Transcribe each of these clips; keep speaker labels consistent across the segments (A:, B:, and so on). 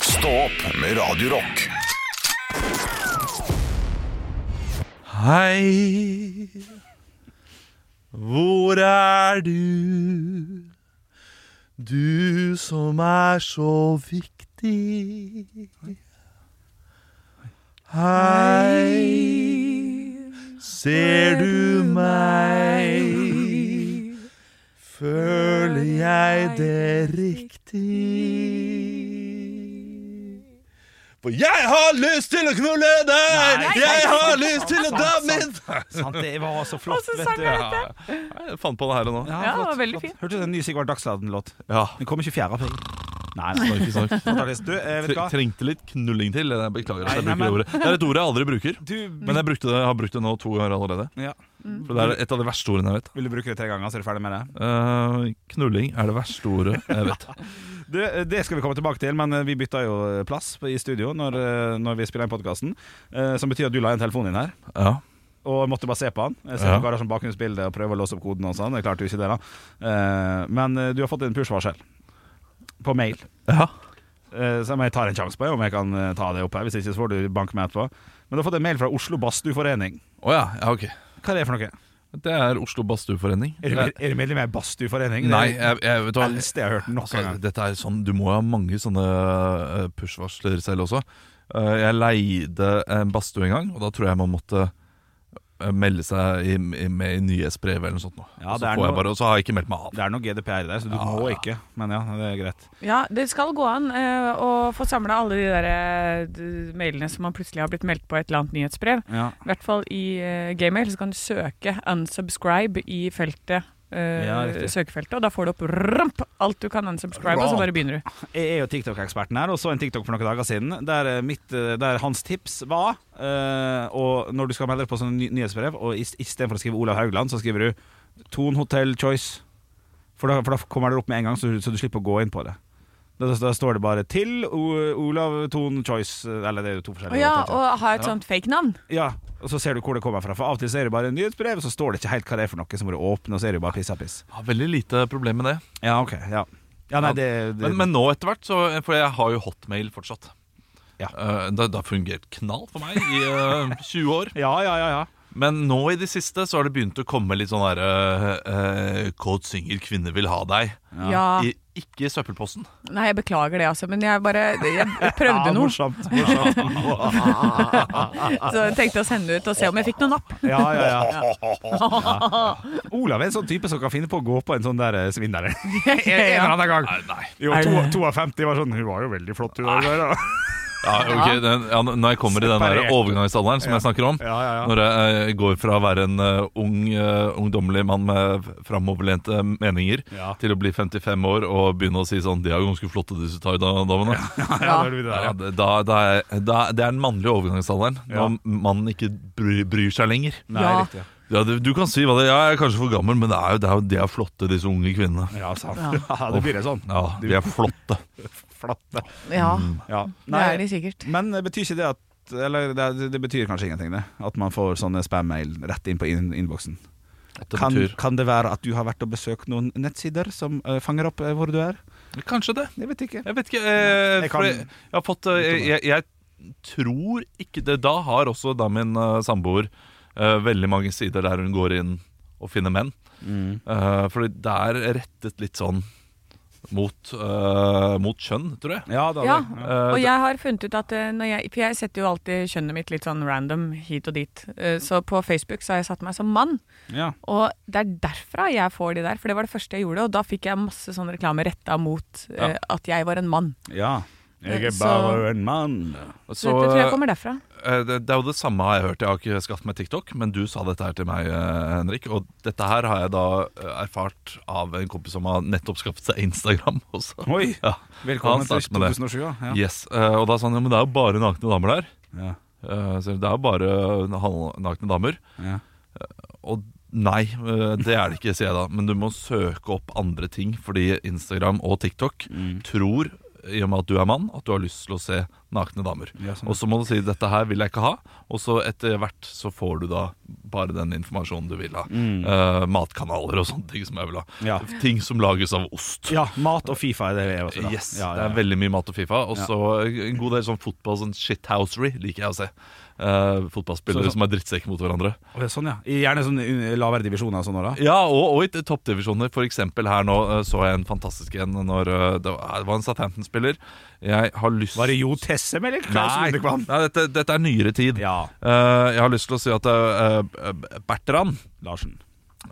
A: Stå opp med Radio Rock.
B: Hei, hvor er du? Du som er så viktig. Hei, ser du meg? Føler jeg det riktig? For jeg har lyst til å knulle deg!
C: Nei,
B: jeg
C: nei,
B: har
C: nei,
B: lyst til å
C: sant,
B: dra
C: sant,
B: min
C: Sant, det var så flott.
D: Og så
C: vet
D: sang
C: du.
D: jeg
C: Ja,
B: Jeg fant på det her og nå.
D: Ja,
C: flott,
D: det var veldig
C: flott.
D: fint.
C: Hørte du den nye Sigvard Dagsland-låt?
B: Ja.
C: Den kom ikke 4. april. Nei, nei.
B: Ikke sant?
C: fantastisk. Du, eh, vet du
B: Tre-
C: hva?
B: Trengte litt knulling til. Jeg beklager at jeg
C: Nei, nei,
B: bruker det ordet. Det er et ord jeg aldri bruker,
C: Du
B: men jeg brukte det, har brukt det nå to ganger allerede.
C: ja.
B: For det er et av de verste ordene jeg vet.
C: Vil du bruke det tre ganger, så er du ferdig med det?
B: Eh, knulling er det verste ordet jeg vet.
C: Du, eh, det skal vi komme tilbake til, men eh, vi bytta jo eh, plass i studio når, eh, når vi spiller inn podkasten. Som betyr at du la igjen telefonen din her.
B: Ja.
C: Og måtte bare se på han. Jeg ser
B: Ja.
C: på Garasjen bakgrunnsbilde og prøve å låse opp koden. og sånn Det klarte jo ikke det da Eh, Men eh, du har fått en push-varsel på mail,
B: ja.
C: eh, som jeg tar en sjanse på. Om jeg kan eh, ta det opp her Hvis ikke så får du bank meg etterpå. Men du har fått en mail fra Oslo Badstueforening.
B: Å ja. ja, ok.
C: Hva er det for noe?
B: Det er Oslo Badstueforening.
C: Er du, med- er du medlem i ei badstueforening?
B: Nei, jeg, jeg vet
C: det
B: hva
C: er det eldste jeg har hørt noen
B: altså,
C: gang.
B: Dette er sånn, Du må jo ha mange sånne eh, push-varsler selv også. Eh, Jeg leide en badstue en gang, og da tror jeg man måtte eh, melde seg i, i, med i nyhetsbrevet eller noe sånt. Nå.
C: Ja,
B: og,
C: det
B: så
C: er
B: får jeg
C: noe-
B: bare, og så har jeg ikke meldt meg av.
C: Det er noe GDPR der, så du
B: Ja,
C: må
B: ja.
C: ikke. Men ja, det er greit.
D: Ja, det skal gå an eh, å få samla alle de der eh, d- mailene som man plutselig har blitt meldt på et eller annet nyhetsbrev.
C: Ja.
D: I hvert fall i eh, gmail så kan du søke 'unsubscribe' i feltet. eh,
C: Ja, riktig.
D: søkefeltet, og da får du opp rump, alt du kan unsubscribe, og så bare begynner du.
C: Jeg er jo TikTok-eksperten her, og så en TikTok for noen dager siden der, eh, mitt, eh, der hans tips var eh, Og når du skal melde deg på sånne ny nyhetsbrev, og istedenfor å skrive Olav Haugland, så skriver du Thon Hotel Choice. For da, for da kommer det opp med en gang, så, du- så du slipper å gå inn på det. Da, da, står det bare 'Til O- Olav Thon Choice'. Eller det er jo to
D: Å
C: forskjellige
D: ja,
C: hoteller.
D: og ha et sånt fake-navn.
C: Ja, og så ser du hvor det kommer fra. For av og til så er det bare en nyhetsbrev, så står det ikke helt hva det er for noe, så må du åpne, og så er det jo bare piss av piss.
B: Jeg har veldig lite problem med det.
C: Ja, ok, ja. Ja, nei, det, det
B: Men, men nå etter hvert, så, for jeg har jo hotmail fortsatt.
C: Ja.
B: Eh, det det har fungert knall for meg i eh, 20 år.
C: Ja, ja, ja. ja.
B: Men nå i det siste så har det begynt å komme litt sånn derre uh, Kåt synger 'Kvinner vil ha deg'.
D: Ja.
B: I, ikke i søppelposten.
D: Nei, jeg beklager det, altså, men jeg bare jeg
C: Ja,
D: prøvde noe.
C: morsomt. morsomt.
D: Så jeg tenkte å sende ut og se om jeg fikk noen napp.
C: Ja, ja, ja. Olav er en sånn type som kan finne på å gå på en sånn der eh, svindler. en eller annen gang.
B: Nei.
C: Jo,
D: Er
C: to,
D: det-
C: to av 50 var sånn Hun var jo veldig flott, hun der. da."
B: Ja, ok, den, ja, når jeg kommer i den der
C: Separert.
B: overgangsalderen som jeg snakker om,
C: Ja, ja, ja.
B: når jeg eh, går fra å være en eh, ung, eh, ungdommelig mann med framoverlente eh, meninger
C: Ja.
B: til å bli 55 år og begynne å si sånn 'De er jo ganske flotte, disse thaidamene'.
C: Ja, det er det der,
B: Ja,
C: ja.
B: det, da, da er, da, det er den mannlige overgangsalderen.
C: Ja.
B: Når mannen ikke bryr, bryr seg lenger.
C: Nei,
D: Ja.
C: riktig. ja.
B: Ja, du, du kan si hva det er, jeg er kanskje for gammel, men det er jo, det er jo de er flotte, disse unge kvinnene.
C: Ja, sant. Ja, det blir det sånn.
B: Ja, de er flotte.
C: Flatte.
D: Ja,
C: Ja.
D: det er
C: Mm. Nei,
D: de sikkert.
C: men det betyr ikke det at Eller det, det betyr kanskje ingenting, det. At man får sånne spam-mail rett inn på inn- innboksen.
B: Det
C: Kan,
B: betyr
C: kan det være at du har vært og besøkt noen nettsider som eh, fanger opp eh, hvor du er?
B: Kanskje det.
C: Jeg vet ikke.
B: Jeg vet ikke. Eh,
C: Jeg
B: jeg,
C: kan-
B: fordi jeg har fått eh, jeg, jeg, tror ikke det. Da har også da min eh, samboer eh, veldig mange sider der hun går inn og finner menn.
D: Mm.
B: Eh, fordi det er rettet litt sånn mot, eh, mot kjønn, tror jeg.
C: Ja, da,
D: Ja,
C: det- ja.
B: Eh,
D: og jeg har funnet ut at eh, når jeg, For jeg setter jo alltid kjønnet mitt litt sånn random hit og dit. Eh, Så på Facebook så har jeg satt meg som mann,
C: Ja.
D: og det er derfra jeg får de der. For det var det første jeg gjorde, og da fikk jeg masse sånn reklame retta mot eh, at jeg var en mann.
C: ja. Jeg er
D: Så-
C: bare en mann.
D: Så,
B: Så,
D: det tror jeg kommer derfra.
B: Eh, Det, det er jo det samme har jeg hørt. Jeg har ikke skaffet meg TikTok, men du sa dette her til meg, eh, Henrik. Og dette her har jeg da eh, erfart av en kompis som har nettopp skaffet seg Instagram også.
C: Oi!
B: Ja. Han
C: Velkommen til
B: startet med det.
C: 2007. Ja. Ja.
B: Yes, eh, Og da sa han jo, men det er jo bare nakne damer der.
C: Ja.
B: Eh, Så det er jo bare halvnakne damer.
C: Ja.
B: Og nei, eh, det er det
C: Mm.
B: ikke, sier jeg da. Men du må søke opp andre ting, fordi Instagram og TikTok tror i og med at du er mann, at du har lyst til å se nakne damer.
C: Ja, sånn.
B: Og så må du si 'dette her vil jeg ikke ha', og så etter hvert så får du da bare den informasjonen du vil ha. Eh, matkanaler og sånne ting som jeg vil ha.
C: Mm. Ja.
B: Ting som lages av ost.
C: Ja, mat og Fifa er det jeg også, da.
B: Yes,
C: ja,
B: Det er veldig mye mat og Fifa. Og så en god del sånn fotball, sånn shithousery, liker jeg å se. Eh, fotballspillere
C: Så- så-
B: som er drittsekker mot hverandre.
C: Å, ja, Sånn, ja. I Gjerne sånn i lavere divisjoner og sånn også, da.
B: Ja, og, og i toppdivisjoner. For eksempel her nå eh, så jeg en fantastisk en når eh, det var det var en Southampton-spiller. Jeg har lyst
C: Var det Jo Tessem eller Klaus
B: Nei,
C: Lundekvam?
B: nei dette, dette er nyere tid.
C: Ja.
B: Eh, jeg har lyst til å si at det er eh, Bertrand,
C: Larsen.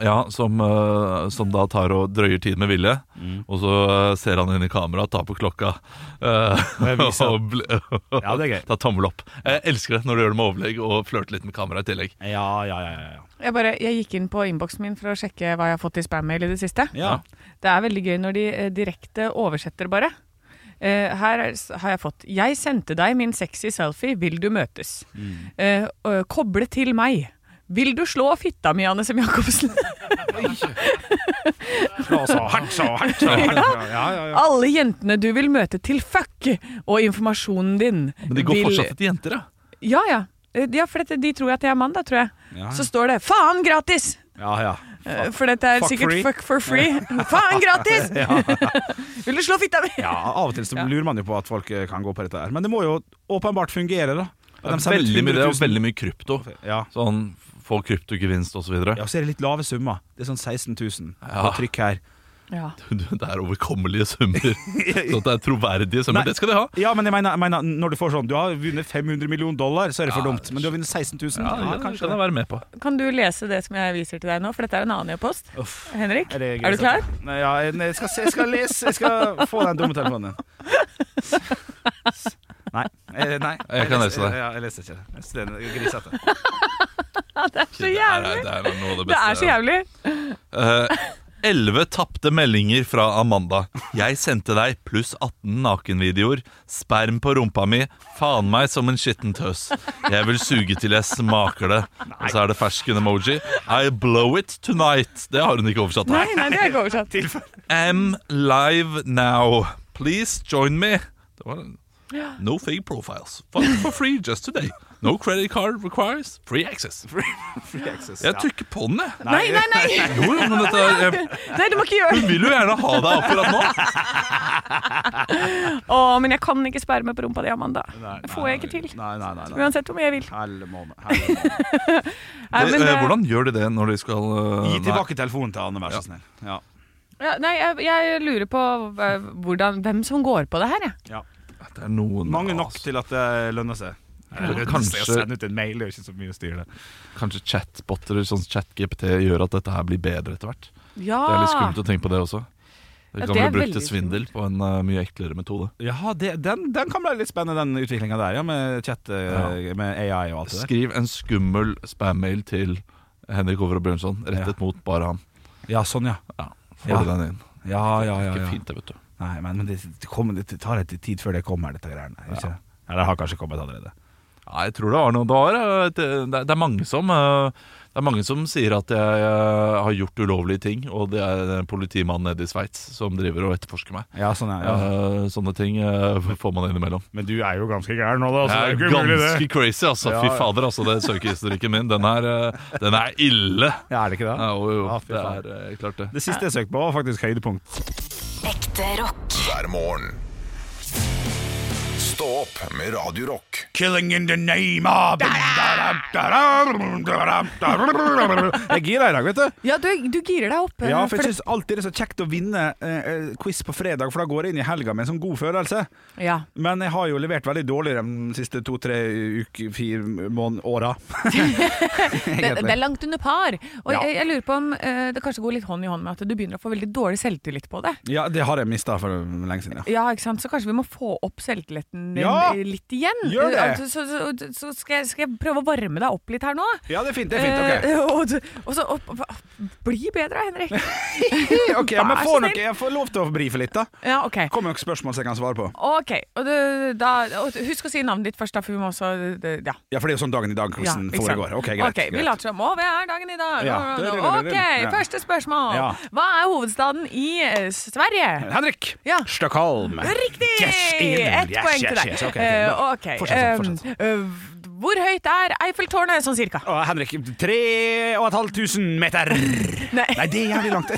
B: ja, som, eh, som da tar og drøyer tid med vilje,
C: Mm.
B: og så eh, ser han inn i kamera, tar på klokka eh,
C: jeg viser.
B: og bl-
C: Ja, det er gøy.
B: tar tommel opp. Jeg elsker det når du gjør det med overlegg og flørter litt med kamera i tillegg.
C: Ja, ja, ja. ja, ja.
D: Jeg, bare, jeg gikk inn på innboksen min for å sjekke hva jeg har fått i spam-mail i det siste.
C: Ja.
D: Det er veldig gøy når de eh, direkte oversetter, bare. Eh, her er, s- har jeg fått 'Jeg sendte deg min sexy selfie. Vil du møtes?'
C: Mm.
D: Eh, og, koble til meg. Vil du slå fitta mi, Anne Sem Jacobsen?
C: Slå så hardt, så hardt, så hardt. Ja, ja, ja, ja.
D: Alle jentene du vil møte til fuck, og informasjonen din
B: Men de går
D: vil...
B: fortsatt etter jenter, ja.
D: Ja, ja. Eh, Ja, for dette, de tror at jeg er mann, da, tror jeg.
C: Ja,
D: Så står det 'faen gratis'!
C: ja, ja.
D: Eh, For dette er
C: Fuck
D: sikkert
C: free.
D: fuck for free. faen gratis! vil du slå fitta mi?
C: ja av og til så lurer man jo på at folk eh, kan gå på dette her. Men det må jo åpenbart fungere, da.
B: Det er veldig mye det, og veldig mye krypto.
C: Ja.
B: Sånn få kryptogevinst osv.
C: ja, så er det litt lave summer. Det er sånn 16 000
B: Ja.
C: på trykk her.
D: Ja.
B: Det er overkommelige summer. Så at det er troverdige summer.
C: Nei.
B: Det skal de ha.
C: Ja, men jeg mener, jeg mener når du får sånn Du har vunnet 500 millioner dollar, så er det for
B: Ja,
C: dumt. Men du har vunnet 16
B: Ja,
C: 000. Ja,
B: det
C: kanskje
B: kan jeg
C: det.
B: være med på.
D: Kan du lese det som jeg viser til deg nå, for dette er en annen e-post.
C: Uff.
D: Henrik, er,
C: gøy,
D: du klar?
C: sant? Nei, ja, jeg- nei, jeg, skal, se- jeg skal lese Jeg skal få den dumme telefonen din. Nei. eh, nei.
B: Jeg kan lese det.
C: Ja, jeg leser ikke det. Jeg leser den Grisete.
D: Det er så
B: Det er,
D: jævlig!
B: det er noe av det
D: Det er så
B: beste.
D: jævlig.
B: Eh, Elleve tapte meldinger fra Amanda. Jeg sendte deg pluss 18 nakenvideoer. Sperm på rumpa mi. Faen meg som en skitten tøs. Jeg vil suge til jeg smaker det. Og så er det fersken-emoji. I blow it tonight. Det har hun ikke oversatt.
D: Nei, nei, det er ikke oversatt.
B: Am live now. Please join me. Det var en- No fake profiles. Fun for free just today. No credit card requires free access.
C: Free access.
B: Jeg
C: ja.
B: trykker på den, jeg.
D: Nei, nei, nei!
B: Jo, jo, men dette er- jeg,
D: Nei, du må ikke gjøre
B: Hun
D: det.
B: vil jo gjerne ha deg akkurat nå.
D: Å, men jeg kan ikke sperre meg på rumpa di, Amanda.
C: Nei,
D: Det
C: nei,
D: får jeg ikke
C: nei,
D: til.
C: Nei, nei, nei, nei.
D: Uansett hvor mye jeg vil.
C: Helle måned. helle måned.
D: Nei, men,
B: Eh,
D: eh,
B: Hvordan gjør de det når de skal eh,
C: Gi
B: nei.
C: tilbake telefonen til Anne, vær så snill. Ja.
D: eh, ja, nei, jeg, jeg lurer på eh, hvordan, hvem som går på det her, jeg.
C: Ja.
B: Det er noen
C: Mange
B: av
C: nok
B: oss.
C: til at det lønner seg.
B: Ja,
C: Kanskje
B: kanskje-
C: Send ut en mail, det er jo ikke så mye å styre det.
B: Kanskje chatboter eller sånn chat-GPT gjør at dette her blir bedre etter hvert.
D: Ja.
B: Det er litt skummelt å tenke på det også.
D: Ah. Ja,
B: Det kan
D: det
B: bli
D: er
B: brukt til
D: veldig
B: svindel på en eh, mye eklere metode.
C: Ja, det, den, den kan bli litt spennende, den utviklinga der, ja, med chat, eh, med AI og alt det der.
B: Skriv en skummel spam-mail til Henrik Over og Bjørnson, rettet mot bare han.
C: Ja, sånn, ja.
B: Får
C: Ja.
B: du den inn?
C: Ja, ja, ja.
B: Ikke
C: ja.
B: fint, det, vet du.
C: Nei, men, men det, det, kommer, det tar litt tid før det kommer, dette greiene. Ikke? det? Eller det har kanskje kommet allerede.
B: Nei, jeg tror det var noe. Det, var, eh, det, det, er- det, er mange som, eh, det er mange som sier at jeg eh, har gjort ulovlige ting, og det er en politimann nede i Sveits som driver og etterforsker meg.
C: Ja, sånn, ja. ja.
B: Eh, sånne ting eh, får man innimellom.
C: Men du er jo ganske gæren nå,
B: Det
C: da. Så
B: er
C: Altså, det er jo ikke umulig,
B: ganske
C: det.
B: crazy, altså.
C: Ja,
B: Fy
C: ja.
B: fader, altså. Det søkehistorikken min, den er, eh, den er ille.
C: Ja, er det ikke det?
B: Ja, jo, jo.
C: Ja, fy
B: Det
C: faen.
B: er eh, klart, det.
C: Det siste jeg søkte på, var faktisk høydepunkt.
E: Ekte rock.
A: hver morgen. Stå opp med Radio Rock.
C: Killing in the name of Jeg er gira i dag, vet du.
D: Ja, du, du girer deg opp. eh,
C: Ja, for
D: for
C: jeg syns alltid det er så kjekt å vinne eh, eh, quiz på fredag, for da går jeg inn i helga med en sånn god følelse.
D: det- ja.
C: Men jeg har jo levert veldig dårlig de siste to-tre uker, fire måned, åra.
D: Det, det er langt under par. Og
C: Ja.
D: jeg, jeg lurer på om eh, det kanskje går litt hånd i hånd med at du begynner å få veldig dårlig selvtillit på det.
C: Ja, det har jeg mista for lenge siden, ja.
D: Ja, ikke sant? Så kanskje vi må få opp selvtilliten din
C: Ja!
D: eh, litt igjen.
C: Gjør det!
D: Så, så, så, så skal, jeg, skal jeg prøve å varme deg opp litt her nå.
C: Ja, det er fint. det er fint,
D: Eh, og, du- og så og, Bli bedre, Henrik.
C: Ok, Ok, ja, men
D: Vær så
C: få noe,
D: snill.
C: Jeg får lov til å brife litt, da.
D: Ja, ok.
C: Kom med noen spørsmål som jeg kan svare på.
D: Ok, og du, da, og Husk å si navnet ditt først, da, for vi må også det- Ja.
C: Ja, For det er jo sånn dagen i
D: ja
C: dag-quizen
D: ikke sant.
C: foregår. Ok, greit.
D: Ok, Vi
C: greit.
D: later som. Å, hva er dagen i dag?
C: Ja.
D: Nå, nå, nå. Ok,
C: Ja.
D: første spørsmål.
C: Ja.
D: Hva er hovedstaden i eh, Sverige?
C: Henrik!
D: Ja.
C: Stockholm.
D: Riktig!
C: Yes, in.
D: Ett
C: Yes,
D: poeng
C: yes,
D: til deg.
C: yes. Ok, ok,
D: Eh,
C: bra.
D: ok,
C: Fortsett
D: eh,
C: sånn, fortsett
D: eh, hvor høyt er Eiffeltårnet, sånn cirka?
C: Å, Henrik, 3500 meter!
D: Nei.
C: Nei, det er jævlig langt.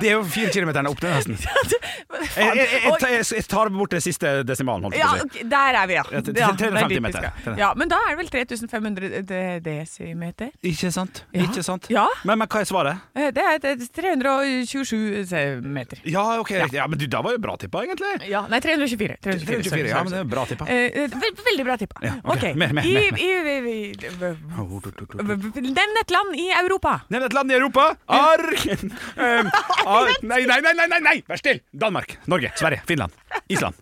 C: Det er jo fire kilometerne opp til nesten. Jeg,
D: Faen.
C: jeg, jeg,
D: Oi.
C: jeg, jeg tar bort det siste desimalen, holdt jeg
D: ja,
C: på å si.
D: ok, der er vi, ja.
C: Ja, til-
D: Ja,
C: til 350
D: det er dit vi
C: meter.
D: skal. Ja, men da er det vel 3500 de- desimeter?
C: Ikke sant?
D: Ja.
C: Ikke sant?
D: Ja.
C: Men, men hva er svaret?
D: Eh, Det er et- et 327 meter.
C: Ja, ok, riktig. ja, men du, da var jo bra tippa, egentlig.
D: Ja, nei, 324. 324,
C: 324, ja, men det er bra tippa.
D: Eh, eh, ve- veldig bra tippa.
C: Ja, ok. Mer, mer,
D: I,
C: mer, mer.
D: i, i, i, Nevn et land i Europa.
C: eh, Nevn et land i Europa. Ark... Um, ar nei, nei, nei, nei, nei, nei! Vær still! Danmark, Norge, Sverige, Finland, Island,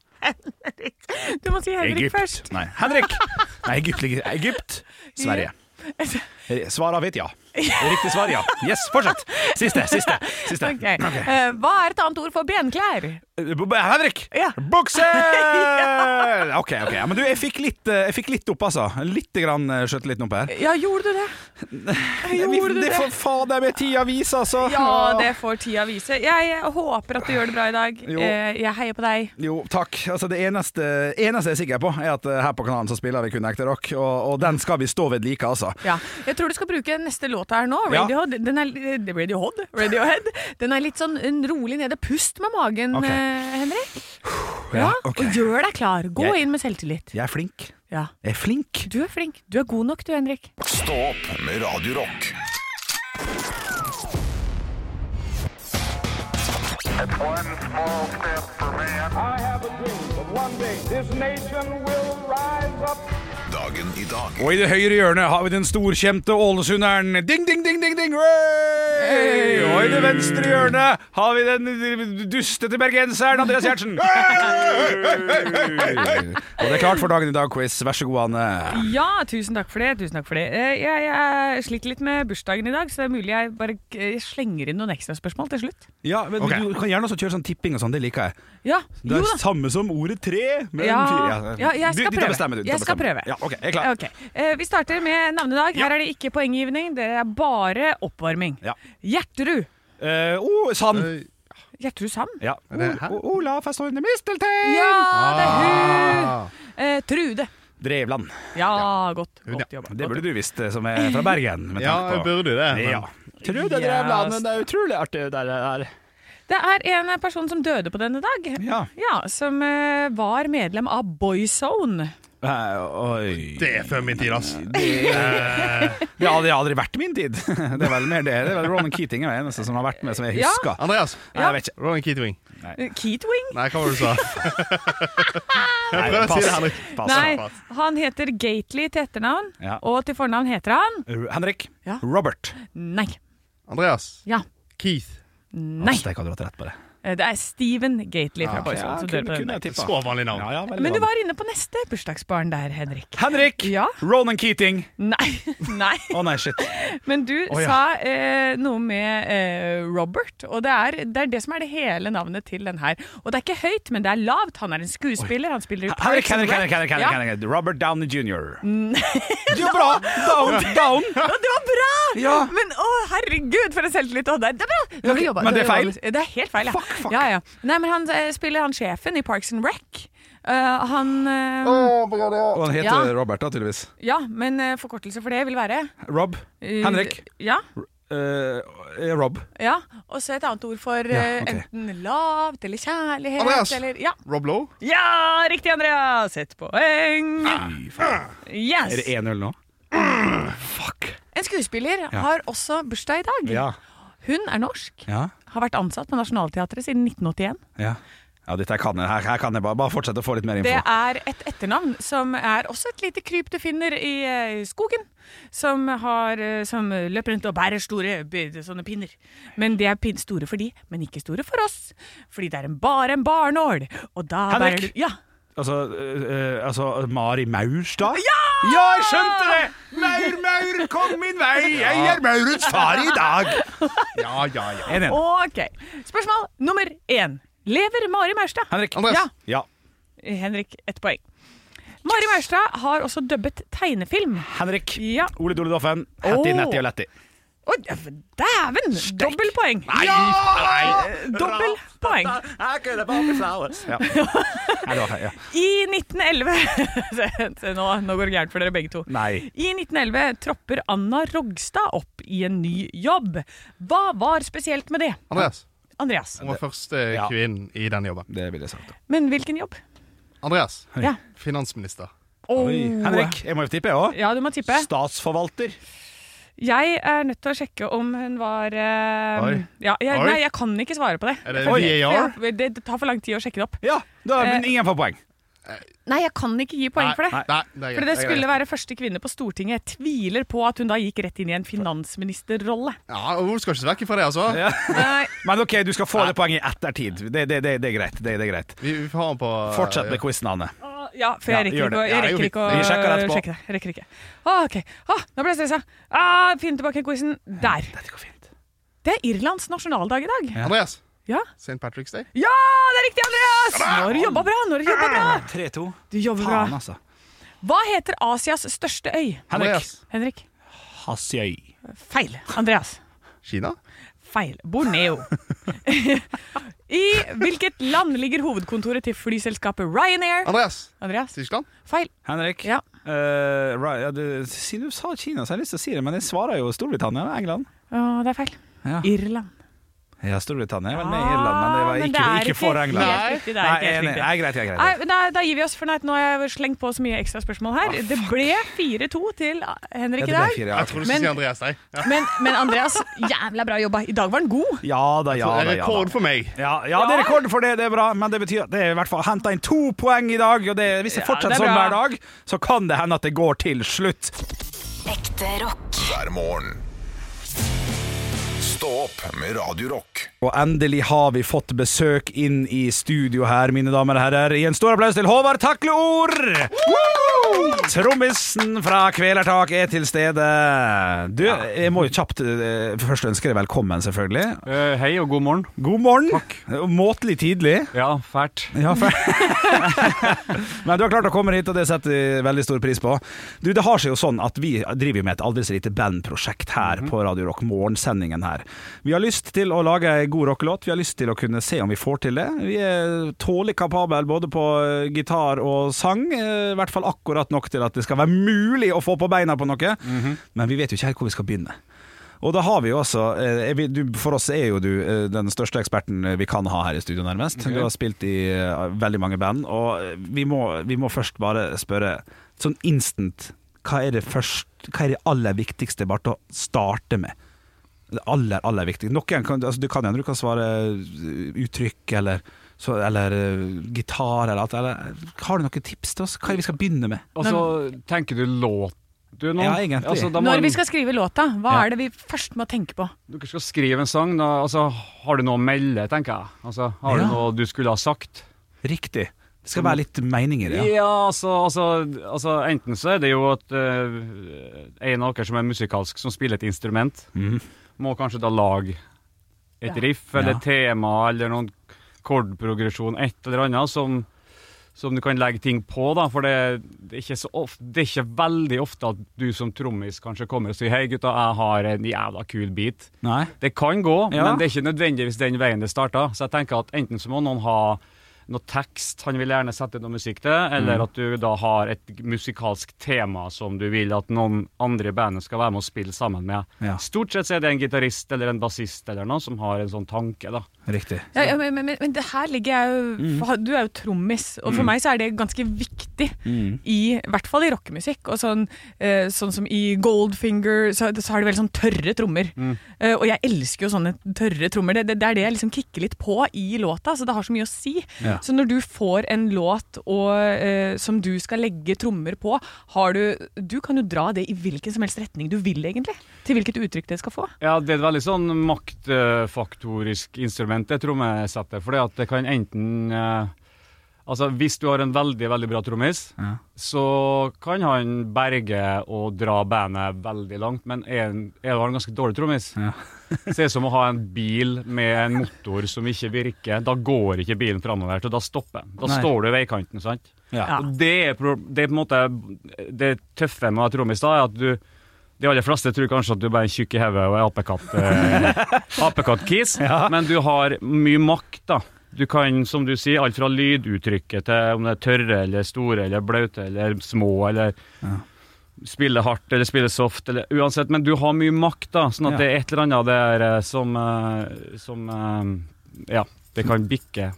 D: Du må si Henrik
C: Egypt
D: først.
C: Nei, Henrik! Nei, Egypt ligger Egypt, Sverige. Eh, Svar avgitt, ja. Riktig svar, ja. Yes, fortsett. Siste, siste. siste.
D: Ok. Eh, hva er et annet ord for benklær?
C: B- b- Henrik!
D: Ja.
C: Bukse! OK, ok. Ja, Men du, jeg fikk litt, eh, jeg fikk litt opp, altså. Litt grann eh, skjøteliten opp her.
D: Ja, gjorde du det? Gjorde du
C: det
D: det?
C: får fader meg tida vise, altså.
D: Ja, det får tida vise. Jeg håper at du gjør det bra i dag.
C: Jo.
D: Eh, Jeg heier på deg.
C: Jo, takk. Altså, det eneste, eneste jeg er sikker på, er at eh, her på kanalen så spiller vi kun ekte rock, og, og den skal vi stå ved like, altså.
D: Ja. Jeg tror du skal bruke neste låt her nå.
C: Ja.
D: Radiohead. Den er, eh, Radiohead, Radiohead. Den er litt sånn en rolig nede. Pust med magen,
C: Ok.
D: eh, Henrik.
C: Ja,
D: Ja,
C: ok.
D: Og gjør deg klar. Gå
C: Jeg-
D: inn med selvtillit.
C: Jeg er flink.
D: Ja.
C: Jeg er flink.
D: Du er flink. Du er god nok, du, Henrik.
A: Stå opp med Radio Rock.
F: I have a dream that one day this nation will rise up.
A: Dagen i dag
C: Og i det høyre hjørnet har vi den storkjente ålesunderen. Ding, ding, ding, ding, ding! Hey! Og i det venstre hjørnet har vi den dustete bergenseren Andreas Gjertsen. og det er klart for dagen i dag-quiz. Vær så god, Anne.
D: Ja, tusen takk for det. Tusen takk for det. Eh, Jeg, jeg sliter litt med bursdagen i dag, så det er mulig jeg bare eh, slenger inn noen ekstraspørsmål til slutt.
C: Ja, men
B: Ok.
C: Du kan gjerne også kjøre sånn tipping og sånn, det liker jeg.
D: Ja,
C: Det
D: jo
C: er
D: da.
C: samme som ordet tre, men
D: Ja,
C: fire.
D: ja, jeg skal
C: du, dette
D: prøve.
C: Bestemmer, du, dette
D: Jeg skal
C: bestemmer.
D: prøve.
C: Ja, ok, jeg er klar.
D: Ok, eh, Vi starter med navnedag. Her er det ikke poenggivning, det er bare oppvarming.
C: Ja.
D: Gjerterud.
C: Eh, oh, sand.
D: Gjerterud Sand?
C: ja. O- O- Olaf er stående misteltein.
D: Ja, det er hun!
C: Ah.
D: Eh, Trude.
C: Drevland.
D: Ja, godt, godt jobba.
C: Det burde du visst, eh, som er fra Bergen. med
G: Ja,
C: tanke
G: jeg
C: på-
G: burde det. men-
C: Ja.
G: Tror det, Drevland, men det er utrolig artig det der. er.
D: Det er en person som døde på denne dag.
C: Ja.
D: Ja, Som eh, var medlem av Boyzone.
C: oi.
G: Det er før min tid, ass.
C: Det har aldri- aldri vært min tid. Det er vel mer det. det er vel Ronan Keating er den eneste som har vært med, som jeg
D: Ja.
C: husker.
G: Andreas,
C: Nei, jeg vet ikke.
G: Rowan Keatwing.
D: Eh, Keatwing?
G: Nei, hva var det du sa?
C: Nei,
G: prøver å si
C: pass.
G: det, Henrik.
C: Pass.
D: Nei, han heter Gately til etternavn.
C: Altså, Ja.
D: Og til fornavn heter han
C: R- Uh, Henrik.
D: Ja.
C: Robert.
D: Nei.
G: Andreas.
D: Ja.
G: Keith.
D: Nei.
C: Steik, hadde du hatt rett på det.
D: Eh, Det er Steven Gately fra Boyzone.
C: Ja,
D: som
C: kunne,
D: døde på denne
C: kunne jeg
D: dagen.
C: tippa.
G: Så vanlig navn.
C: Ja, ja, veldig
D: Men du
C: vanlig.
D: var inne på neste bursdagsbarn der, Henrik.
C: Henrik!
D: Ja.
C: Ronan Keating.
D: Nei, nei.
C: Å nei, shit.
D: Men du sa eh, noe med eh, Robert, og det er, det er det som er det hele navnet til den her. Og det er ikke høyt, men det er lavt. Han er en skuespiller, han spiller i
C: Henrik,
D: Parks and
C: Henrik, Henrik,
D: Rec.
C: Henrik, Henrik,
D: Ja.
C: Henrik. Robert Downey jr. Det var bra! Down, down!
D: Å, det var bra!
C: Ja.
D: Men å, herregud, for en selvtillit. Å, det, det er bra! Du har
C: Ok,
D: jobba-
C: men det er
D: du har
C: feil.
D: jobba- Det er helt feil, ja.
C: Fuck, fuck.
D: Ja, ja. Nei, men han eh, spiller han sjefen i Parks and Rec. Eh, han eh,
C: Og han heter
D: Ja.
C: Robert, da, tydeligvis.
D: Ja, men eh, forkortelse for det vil være
C: Rob.
D: eh,
C: Henrik.
D: Ja.
C: Eh, eh, Rob.
D: Ja, og så et annet ord for eh,
C: ok.
D: enten lavt eller kjærlighet
G: Andreas.
D: eller ja.
G: Rob Lowe.
D: ja, riktig, Andreas! Et poeng. Yes!
C: Ah. Er det 1-0 nå?
D: En skuespiller har også bursdag i dag. Hun er norsk,
C: Ja.
D: har vært ansatt på Nationaltheatret siden 1981.
C: Ja, ja dette her kan jeg. Her, her kan jeg bare, bare fortsette å få litt mer info.
D: Det er et etternavn som er også et lite kryp du finner i eh, skogen. Som, har, eh, som løper rundt og bærer store b- sånne pinner. Men de er pin store for de, men ikke store for oss. Fordi det er en, bare en barnål. Og da bærer
C: Henrik!
D: du Ja.
C: Altså, eh, eh, altså Mari Maurstad? Ja! ja, jeg skjønte det! Maur, maur, kom min vei, jeg er Maurets far i dag.
G: Ja, ja, ja.
C: En, en.
D: Ok. Spørsmål nummer én. Lever Mari Maurstad?
C: Henrik.
G: Andreas.
D: Ja.
C: Ja.
D: Henrik, ett poeng. Mari Maurstad har også dubbet tegnefilm.
C: Henrik.
D: Ja.
C: Ole Dole Doffen. Hattie,
D: Åh.
C: Nettie og Lettie.
D: Å, dæven! Dobbelt poeng. Dobbelt poeng.
C: Ja. Nei, det var- ja.
D: I 1911 Se, se, nå, nå går det gærent for dere begge to.
C: Nei.
D: I 1911 tropper Anna Rogstad opp i en ny jobb. Hva var spesielt med det,
G: Andreas.
D: Andreas?
G: Hun var første
C: Ja.
G: kvinnen i den jobben.
C: Det ville jeg sagt. da.
D: Men hvilken jobb?
G: Andreas.
D: Ja.
G: Finansminister.
D: Åh.
C: Henrik, jeg må jo tippe, jeg òg.
D: Oh. Ja, du må tippe.
C: Statsforvalter.
D: Jeg er nødt til å sjekke om hun var eh,
G: Oi.
D: Ja, jeg,
G: Oi.
D: nei, jeg kan ikke svare på det.
G: Er det
C: Oi.
G: VAR?
D: For jeg- Det det tar for lang tid å sjekke det opp.
C: Ja, da, men
D: Eh,
C: ingen får poeng.
D: Nei, jeg kan ikke gi poeng for det.
G: Nei, nei, det er greit.
D: Fordi det
G: er
D: skulle
G: greit.
D: være første kvinne på Stortinget. Jeg tviler på at hun da gikk rett inn i en finansministerrolle.
G: Ja, og Hun skal ikke se vekk fra det, altså.
C: Ja. Men OK, du skal få det poenget i ettertid. Det, det, det, det er greit. Det, det er greit.
G: Vi, vi får ha den på eh,
C: Fortsett med quizen, Anne.
D: Å, Ja, for jeg
C: Ja,
D: rekker
C: gjør
D: ikke, å-
C: det.
D: jeg
G: Ja, jo,
D: rekker ikke å
C: vi sjekker det etterpå.
D: sjekke det. Jeg rekker ikke. Å, ok. Å, nå ble jeg stressa. Ah, Finn tilbake quizen. Der.
C: Dette går fint.
D: Det er Irlands nasjonaldag i dag.
G: Andreas.
D: Ja,
G: St. Patrick's Day.
D: ja det er riktig, Andreas! Nå har du jobba bra. Nå har du jobba bra.
C: 3-2.
D: Du jobber
C: Faen,
D: bra.
C: altså.
D: Hva heter Asias største øy?
C: Henrik.
G: Andreas.
D: Henrik?
C: Hasjøy.
D: Feil. Andreas?
G: Kina.
D: Feil. Borneo. I hvilket land ligger hovedkontoret til flyselskapet Ryanair?
G: Andreas.
D: Andreas?
G: Tyskland.
D: Feil.
C: Henrik.
D: Ja.
C: Eh, right, ja, du, siden du sa Kina, så har jeg lyst til å si det, men jeg svarer jo Storbritannia og England.
D: Å, det er feil.
C: Ja.
D: Irland.
C: Ja, Storbritannia er vel med i Irland, men det var
D: Ah,
C: ikke,
D: det er
C: ikke for England.
D: helt riktig, det er
C: Nei,
D: ikke helt
C: enig.
D: riktig.
C: Nei, greit, greit, greit.
D: Nei, men da, da gir vi oss, for nå- nå har jeg slengt på så mye ekstra spørsmål her. det ble 4-2 til
C: Ah, Ja,
D: Henrik
C: det
D: i
C: ble
D: dag.
C: fire, ja.
G: Jeg trodde du skulle
D: Men-
G: si Andreas, nei. Ja.
D: Men, men Andreas, jævla bra jobba. I dag var den god.
C: ja da, ja da.
G: det
C: Ja,
G: er rekord
C: da.
G: for meg.
C: Ja, ja, det er rekord for det, det er bra, men det betyr at det er i hvert fall henta inn to poeng i dag. Og det, hvis det
D: Ja,
C: fortsetter
D: det er
C: sånn hver
D: bra.
C: dag, så kan det hende at det går til slutt.
E: Ekte rock.
A: hver morgen. Stå opp med Radio Rock.
C: Og endelig har vi fått besøk inn i studio her, mine damer og herrer. I en stor applaus til Håvard Takleord! Trommisen fra Kvelertak er til stede. Du, jeg må jo kjapt eh, først ønske deg velkommen, selvfølgelig.
H: Eh, hei og god morgen.
C: God morgen. Og Måtelig tidlig.
H: Ja, fælt.
C: Ja, for... Men du har klart å komme hit, og det setter vi veldig stor pris på. Du, Det har seg jo sånn at vi driver med et aldri så lite bandprosjekt her på Radio Rock, morgensendingen her. Vi har lyst til å lage ei god rockelåt, vi har lyst til å kunne se om vi får til det. Vi er tålelig kapable både på eh, gitar og sang, eh, i hvert fall akkurat nok til at det skal være mulig å få på beina på noe. Men vi vet jo ikke helt hvor vi skal begynne. Og da har vi jo altså eh, er vi- du, For oss er jo du eh, den største eksperten vi kan ha her i studio, nærmest. Du har spilt i eh, veldig mange band, og eh, vi må, vi må først bare spørre sånn instant Hva er det, først, hva er det aller viktigste bare til å starte med? Det aller, aller viktigste. Noen kan, altså, du kan hende du kan svare eh, uttrykk eller så, eller eh, gitar eller alt. Eller, har du noen tips til oss? Hva er det vi skal begynne med?
H: Og så Altså, tenker du låt du nå? Altså,
C: Ja, egentlig.
H: da må
D: Når vi
H: en-
D: skal skrive låta, hva
C: Ja.
D: er det vi først må tenke på?
H: Dere skal skrive en sang, da, altså, har du noe å melde, tenker jeg. Altså, har
C: Ja.
H: du noe du skulle ha sagt?
C: Riktig. Det skal være litt mening i det.
H: Ja, altså, altså, altså Enten så er det jo at eh, en av dere som er musikalsk, som spiller et instrument, må kanskje da lage et
D: Ja.
H: riff eller
C: Ja.
H: et tema eller noen kordprogresjon, et eller annet, som, som du kan legge ting på, da. For det, det, er ikke så ofte, det er ikke veldig ofte at du som trommis kanskje kommer og sier 'Hei, gutta, jeg har en jævla kul beat'.
C: Nei?
H: Det kan gå,
C: Ja.
H: men det er ikke nødvendigvis den veien det starter. Så jeg tenker at enten så må noen ha noe tekst han vil gjerne sette noe musikk til, eller at du da har et musikalsk tema som du vil at noen andre i bandet skal være med og spille sammen med.
C: Ja.
H: Stort sett så er det en gitarist eller en bassist eller noe som har en sånn tanke, da.
C: Riktig.
D: Ja, ja, men, men, men- men det her ligger jeg jo for- Du er jo trommis, og for meg så er det ganske viktig. I, i hvert fall i rockemusikk. Og sånn, eh, sånn som i Goldfinger, så, så har de veldig sånn tørre trommer. Eh, og jeg elsker jo sånne tørre trommer. Det, det, det er det jeg liksom kicker litt på i låta, så det har så mye å si.
C: Ja.
D: Så når du får en låt og, eh, som du skal legge trommer på, har du Du kan jo dra det i hvilken som helst retning du vil, egentlig. Til hvilket uttrykk det skal få.
H: Ja, det er et veldig sånn maktfaktorisk instrument, det trommesettet. For det kan enten eh, Altså, hvis du har en veldig, veldig bra trommis,
C: Ja.
H: så kan han berge og dra bandet veldig langt, men er, en, er du har en ganske dårlig trommis,
C: Ja.
H: så er det som å ha en bil med en motor som ikke virker. Da går ikke bilen framover, så da stopper den. Da
C: Nei.
H: står du i veikanten, sant?
C: Ja.
H: Og det er, pro- det er på en måte det tøffe med å ha trommis, da, er at du de aller fleste tror kanskje at du bare er tjukk i hodet og er apekatt, eh, apekatt-kis, men du har mye makt, da. Du kan, som du sier, alt fra lyduttrykket til om det er tørre eller store eller blaute eller små eller spille hardt eller spille soft eller uansett, men du har mye makt, da, sånn at
C: Ja.
H: det er et eller annet der eh, som, eh, som eh, Ja, det kan bikke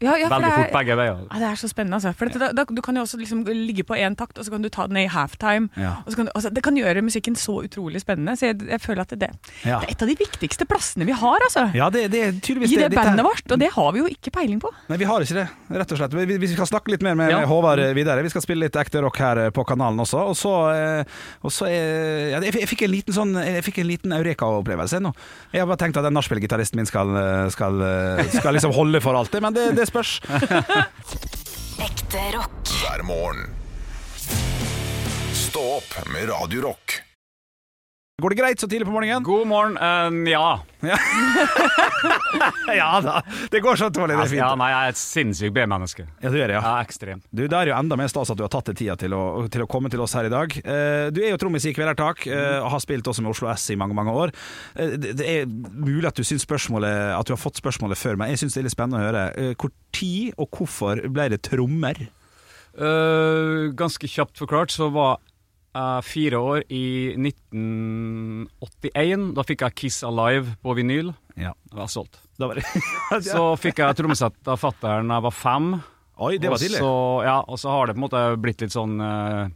D: Ja, ja, for
H: veldig
D: det
H: fort
D: er,
H: begge veier.
D: ja, det er så spennende. Altså. For dette, da, da, du kan jo også liksom ligge på én takt, og så kan du ta den ned i halftime.
C: Ja.
D: Og så kan, du- altså, det kan gjøre musikken så utrolig spennende. Så jeg, jeg føler at det, det,
C: Ja.
D: det er et av de viktigste plassene vi har, altså.
C: Ja, det, det er tydeligvis
D: I det
C: dette her-
D: bandet vårt, og det har vi jo ikke peiling på.
C: Nei, vi har ikke det, rett og slett. Vi, vi skal snakke litt mer med,
H: Ja.
C: med Håvard eh, videre. Vi skal spille litt ekte rock her eh, på kanalen også. Og så, eh, og så eh, ja, jeg, fikk- jeg fikk en liten sånn Jeg fikk en liten eureka-opplevelse nå. Jeg har bare tenkt at den nachspiel-gitaristen min skal, eh, skal, eh, skal liksom holde for alltid, men det, det spørs.
E: Ekte rock.
A: hver morgen. Stå opp med Radio Rock.
C: Går det greit så tidlig på morgenen?
H: God morgen. eh, ja.
C: Ja da. Det går så tålelig, det er
H: Ja,
C: fint.
H: nei, jeg er et sinnssykt B-menneske.
C: Ja, du gjør det, ja.
H: Ja, ekstremt.
C: Du, Det er jo enda mer stas at du har tatt deg tida til å, til å komme til oss her i dag. Eh, du er jo trommis i Kvelertak
H: Mm.
C: eh, og har spilt også med Oslo S i mange mange år. Eh, det, det er mulig at du syns spørsmålet At du har fått spørsmålet før, men jeg syns det er litt spennende å høre. Eh, hvor tid og hvorfor ble det trommer?
H: Eh, ganske kjapt forklart så var jeg fire år i 1981. Da fikk jeg Kiss Alive på vinyl.
C: Ja.
H: Det var solgt.
C: Da var det.
H: Så fikk jeg trommesett av fatter'n da jeg var fem.
C: Oi, det var tidlig.
H: Og så, ja, og så har det på en måte blitt litt sånn eh,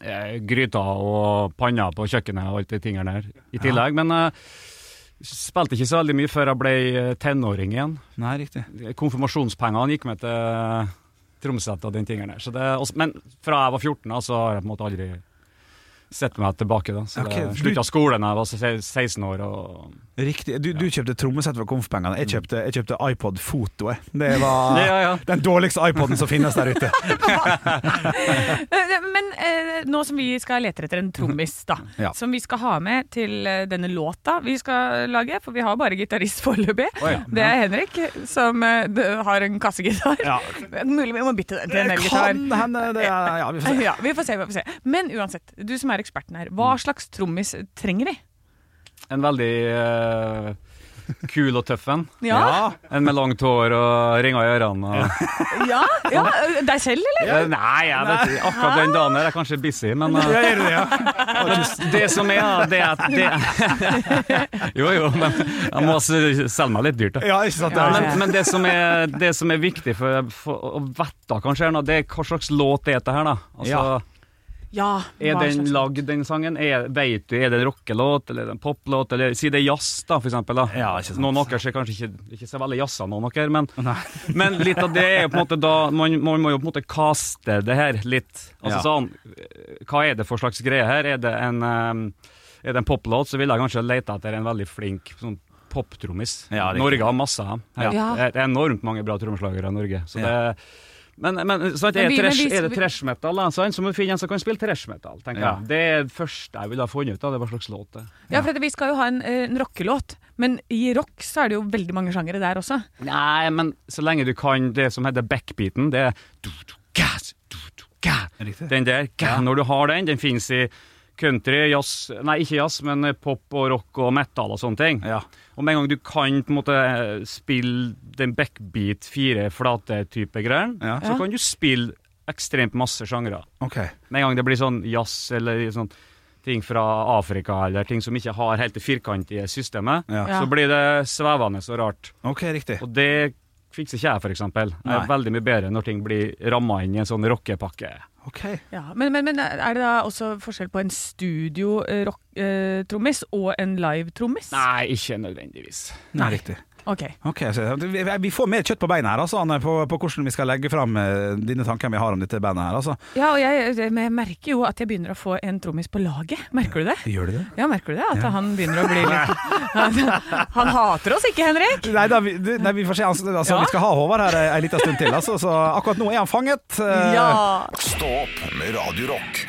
H: eh, gryta og panna på kjøkkenet og alt de tingene der i tillegg. Men jeg spilte ikke så veldig mye før jeg ble eh, tenåring igjen.
C: Nei, riktig.
H: Konfirmasjonspengene gikk med til Tromsøt og den tingen der. Så det, også, men fra jeg var 14, da, så har jeg på en måte aldri sett meg tilbake. Da. Så
C: Ok,
H: det
C: for du-
H: slutta skolen da jeg var se- 16 år. Og,
C: riktig. Du, du kjøpte trommesett for konfpengene. Jeg kjøpte, jeg kjøpte iPod Foto. jeg. Det var
H: Mm. Ja, ja.
C: den dårligste iPoden som finnes der ute.
D: Eh, Men eh, nå som vi skal lete etter en trommis, da,
C: Mhm. Ja.
D: som vi skal ha med til eh, denne låta vi skal lage, for vi har bare gitarist foreløpig.
H: Å, ja.
D: Det er Henrik, som eh, d- har en kassegitar.
C: Ja.
D: Mulig vi må bytte den til en elgitar.
C: Kan hende det er, Ja, vi får se.
D: Ja, vi får se, vi får se. Men uansett, du som er eksperten her, hva slags trommis trenger vi?
H: en veldig eh, kul og tøff en.
D: Ja,
H: En med langt hår og ringer i ørene. Og,
D: ja, ja. Deg selv, eller?
H: Eh, Nei, jeg vet ikke. Akkurat den dagen der er jeg kanskje busy, men eh,
C: Ja, gjør du det, ja.
H: Men det som er, da, det er at det Jo, jo, men jeg må også selge meg litt dyrt, da.
C: ja, ikke sant? Det
H: Ja,
C: er-
H: men, men det, som er, det som er viktig for, for å vite kanskje, her nå, det er hva slags låt det er dette her. da. Altså,
C: Ja.
D: Ja.
H: Er
D: hva
H: den
D: slags-
H: lagd, den sangen? Er, vet du, er det en rockelåt eller er det en poplåt? Eller si det er jazz, da, for eksempel. Da.
C: Ja, ikke sant.
H: Noen av dere er kanskje ikke, ikke så veldig jazza, noen av dere, men, men litt av det er jo på en måte da man, man må jo på en måte kaste det her litt. Altså
C: Ja.
H: sånn Hva er det for slags greie her? Er det en, um, er det en poplåt, så ville jeg kanskje lete etter en veldig flink sånn poptrommis.
C: Ja, riktig.
H: Norge har masse av dem.
D: Ja. Ja.
H: Det er enormt mange bra trommeslagere i Norge. Så
C: Ja.
H: det men, men, sant,
D: Men
H: er,
D: vi- men
H: trash,
D: vi-
H: er det trash metal, da, sant, så må vi finne en som kan spille trash metal. tenker
C: Ja.
H: jeg. Det er det første jeg ville ha funnet ut av. det er Hva slags låt det er.
D: Ja, for at vi skal jo ha en, eh, en rockelåt, men i rock så er det jo veldig mange sjangere der også.
H: Nei, men så lenge du kan det som heter backbeaten, det er du, du, gas, du, du, ga.
C: Riktig.
H: Den der. Ga. Når du har den, den finnes i country, jazz Nei, ikke jazz, men eh, pop og rock og metal og sånne ting.
C: Ja.
H: Og med en gang du kan på en måte eh, spille den backbeat, fire flate-type greier,
C: Ja.
H: så kan du spille ekstremt masse sjangre.
C: Ok.
H: Med en gang det blir sånn jazz eller sånn ting fra Afrika eller ting som ikke har helt det firkantige systemet,
C: Ja.
D: Ja.
H: så blir det svevende og rart.
C: Ok, riktig.
H: Og det fikser ikke jeg, for eksempel. Jeg
C: Nei.
H: er veldig mye bedre når ting blir ramma inn i en sånn rockepakke.
C: Ok.
D: Ja, men, men, men er det da også forskjell på en eh, studio-trommis og en live-trommis?
H: Nei, ikke nødvendigvis.
C: Nei, riktig.
D: Ok.
C: Ok, så vi- Vi får mer kjøtt på beina her, altså, Anne, på, på hvordan vi skal legge fram eh, dine tanker vi har om dette bandet her. Altså.
D: Ja, og jeg, jeg merker jo at jeg begynner å få en trommis på laget. Merker du det?
C: Gjør du det?
D: Ja, merker du det? At han begynner å bli litt Han hater oss ikke, Henrik!
C: Nei, da, vi, du, nei, vi får se. Altså, altså,
D: Ja.
C: Vi skal ha Håvard her ei, ei lita stund til. Altså, så akkurat nå er han fanget. eh,
D: Ja.
A: Stå opp med Radio Rock.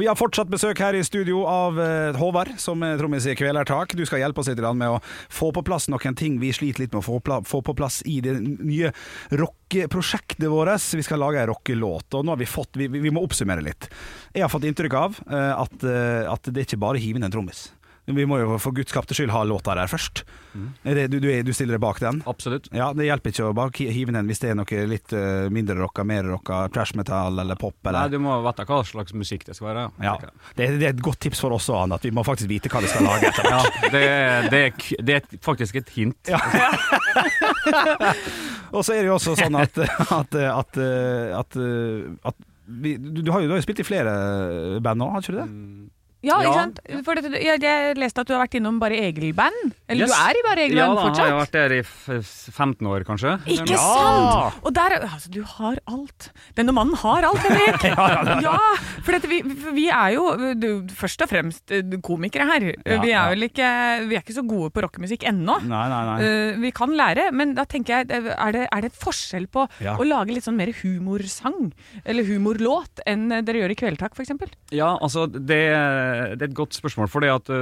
C: Vi har fortsatt besøk her i studio av eh, Håvard, som er trommis i Kvelertak. Du skal hjelpe oss litt grann med å få på plass noen ting vi sliter litt med å få, pla få på plass i det nye rockeprosjektet vårt. Vi skal lage ei rockelåt, og nå har vi fått vi, vi vi må oppsummere litt. Jeg har fått inntrykk av eh, at, eh, at det er ikke bare å hive inn en trommis. Vi må jo for guds skapte skyld ha låta der først. Er det, du, du, er- du stiller deg bak den?
H: Absolutt.
C: Ja, Det hjelper ikke å bare ki- hive inn en hvis det er noe litt eh, mindre rocka, mer rocka, trash metal eller pop. Eller.
H: Nei, du må vite hva slags musikk det skal være.
C: Ja, det, det er et godt tips for oss også, Anne, at vi må faktisk vite hva vi skal lage. etter hvert.
H: Ja, det, er- det, er k- det er faktisk et hint.
C: Og så er det jo også sånn at, at, at, at, at vi, du, du har jo, du har jo spilt i flere band nå, har ikke du det?
D: Ja,
H: Ja.
D: ikke sant? For dette- jeg, jeg leste at du har vært innom Bare Egil-band. Eller
H: Yes.
D: du er i Bare
H: ja,
D: Egil-band
H: da,
D: fortsatt?
H: Jeg har vært der i f- 15 år, kanskje.
D: Ikke
H: Ja.
D: sant? Og der, altså, du har alt. Denne mannen har alt, Henrik. ja, for dette, vi, for vi er jo du, først og fremst eh, komikere her.
C: Ja,
D: vi,
C: ja.
D: er vel ikke, vi er ikke så gode på rockemusikk ennå.
C: Nei, nei, nei.
D: Eh, vi kan lære, men da tenker jeg, eh, er det, er det et forskjell på
C: Ja.
D: å lage litt sånn mer humorsang eller humorlåt enn eh, dere gjør i Kvelertak f.eks.?
H: Ja, altså det, det er et godt spørsmål, fordi at ø,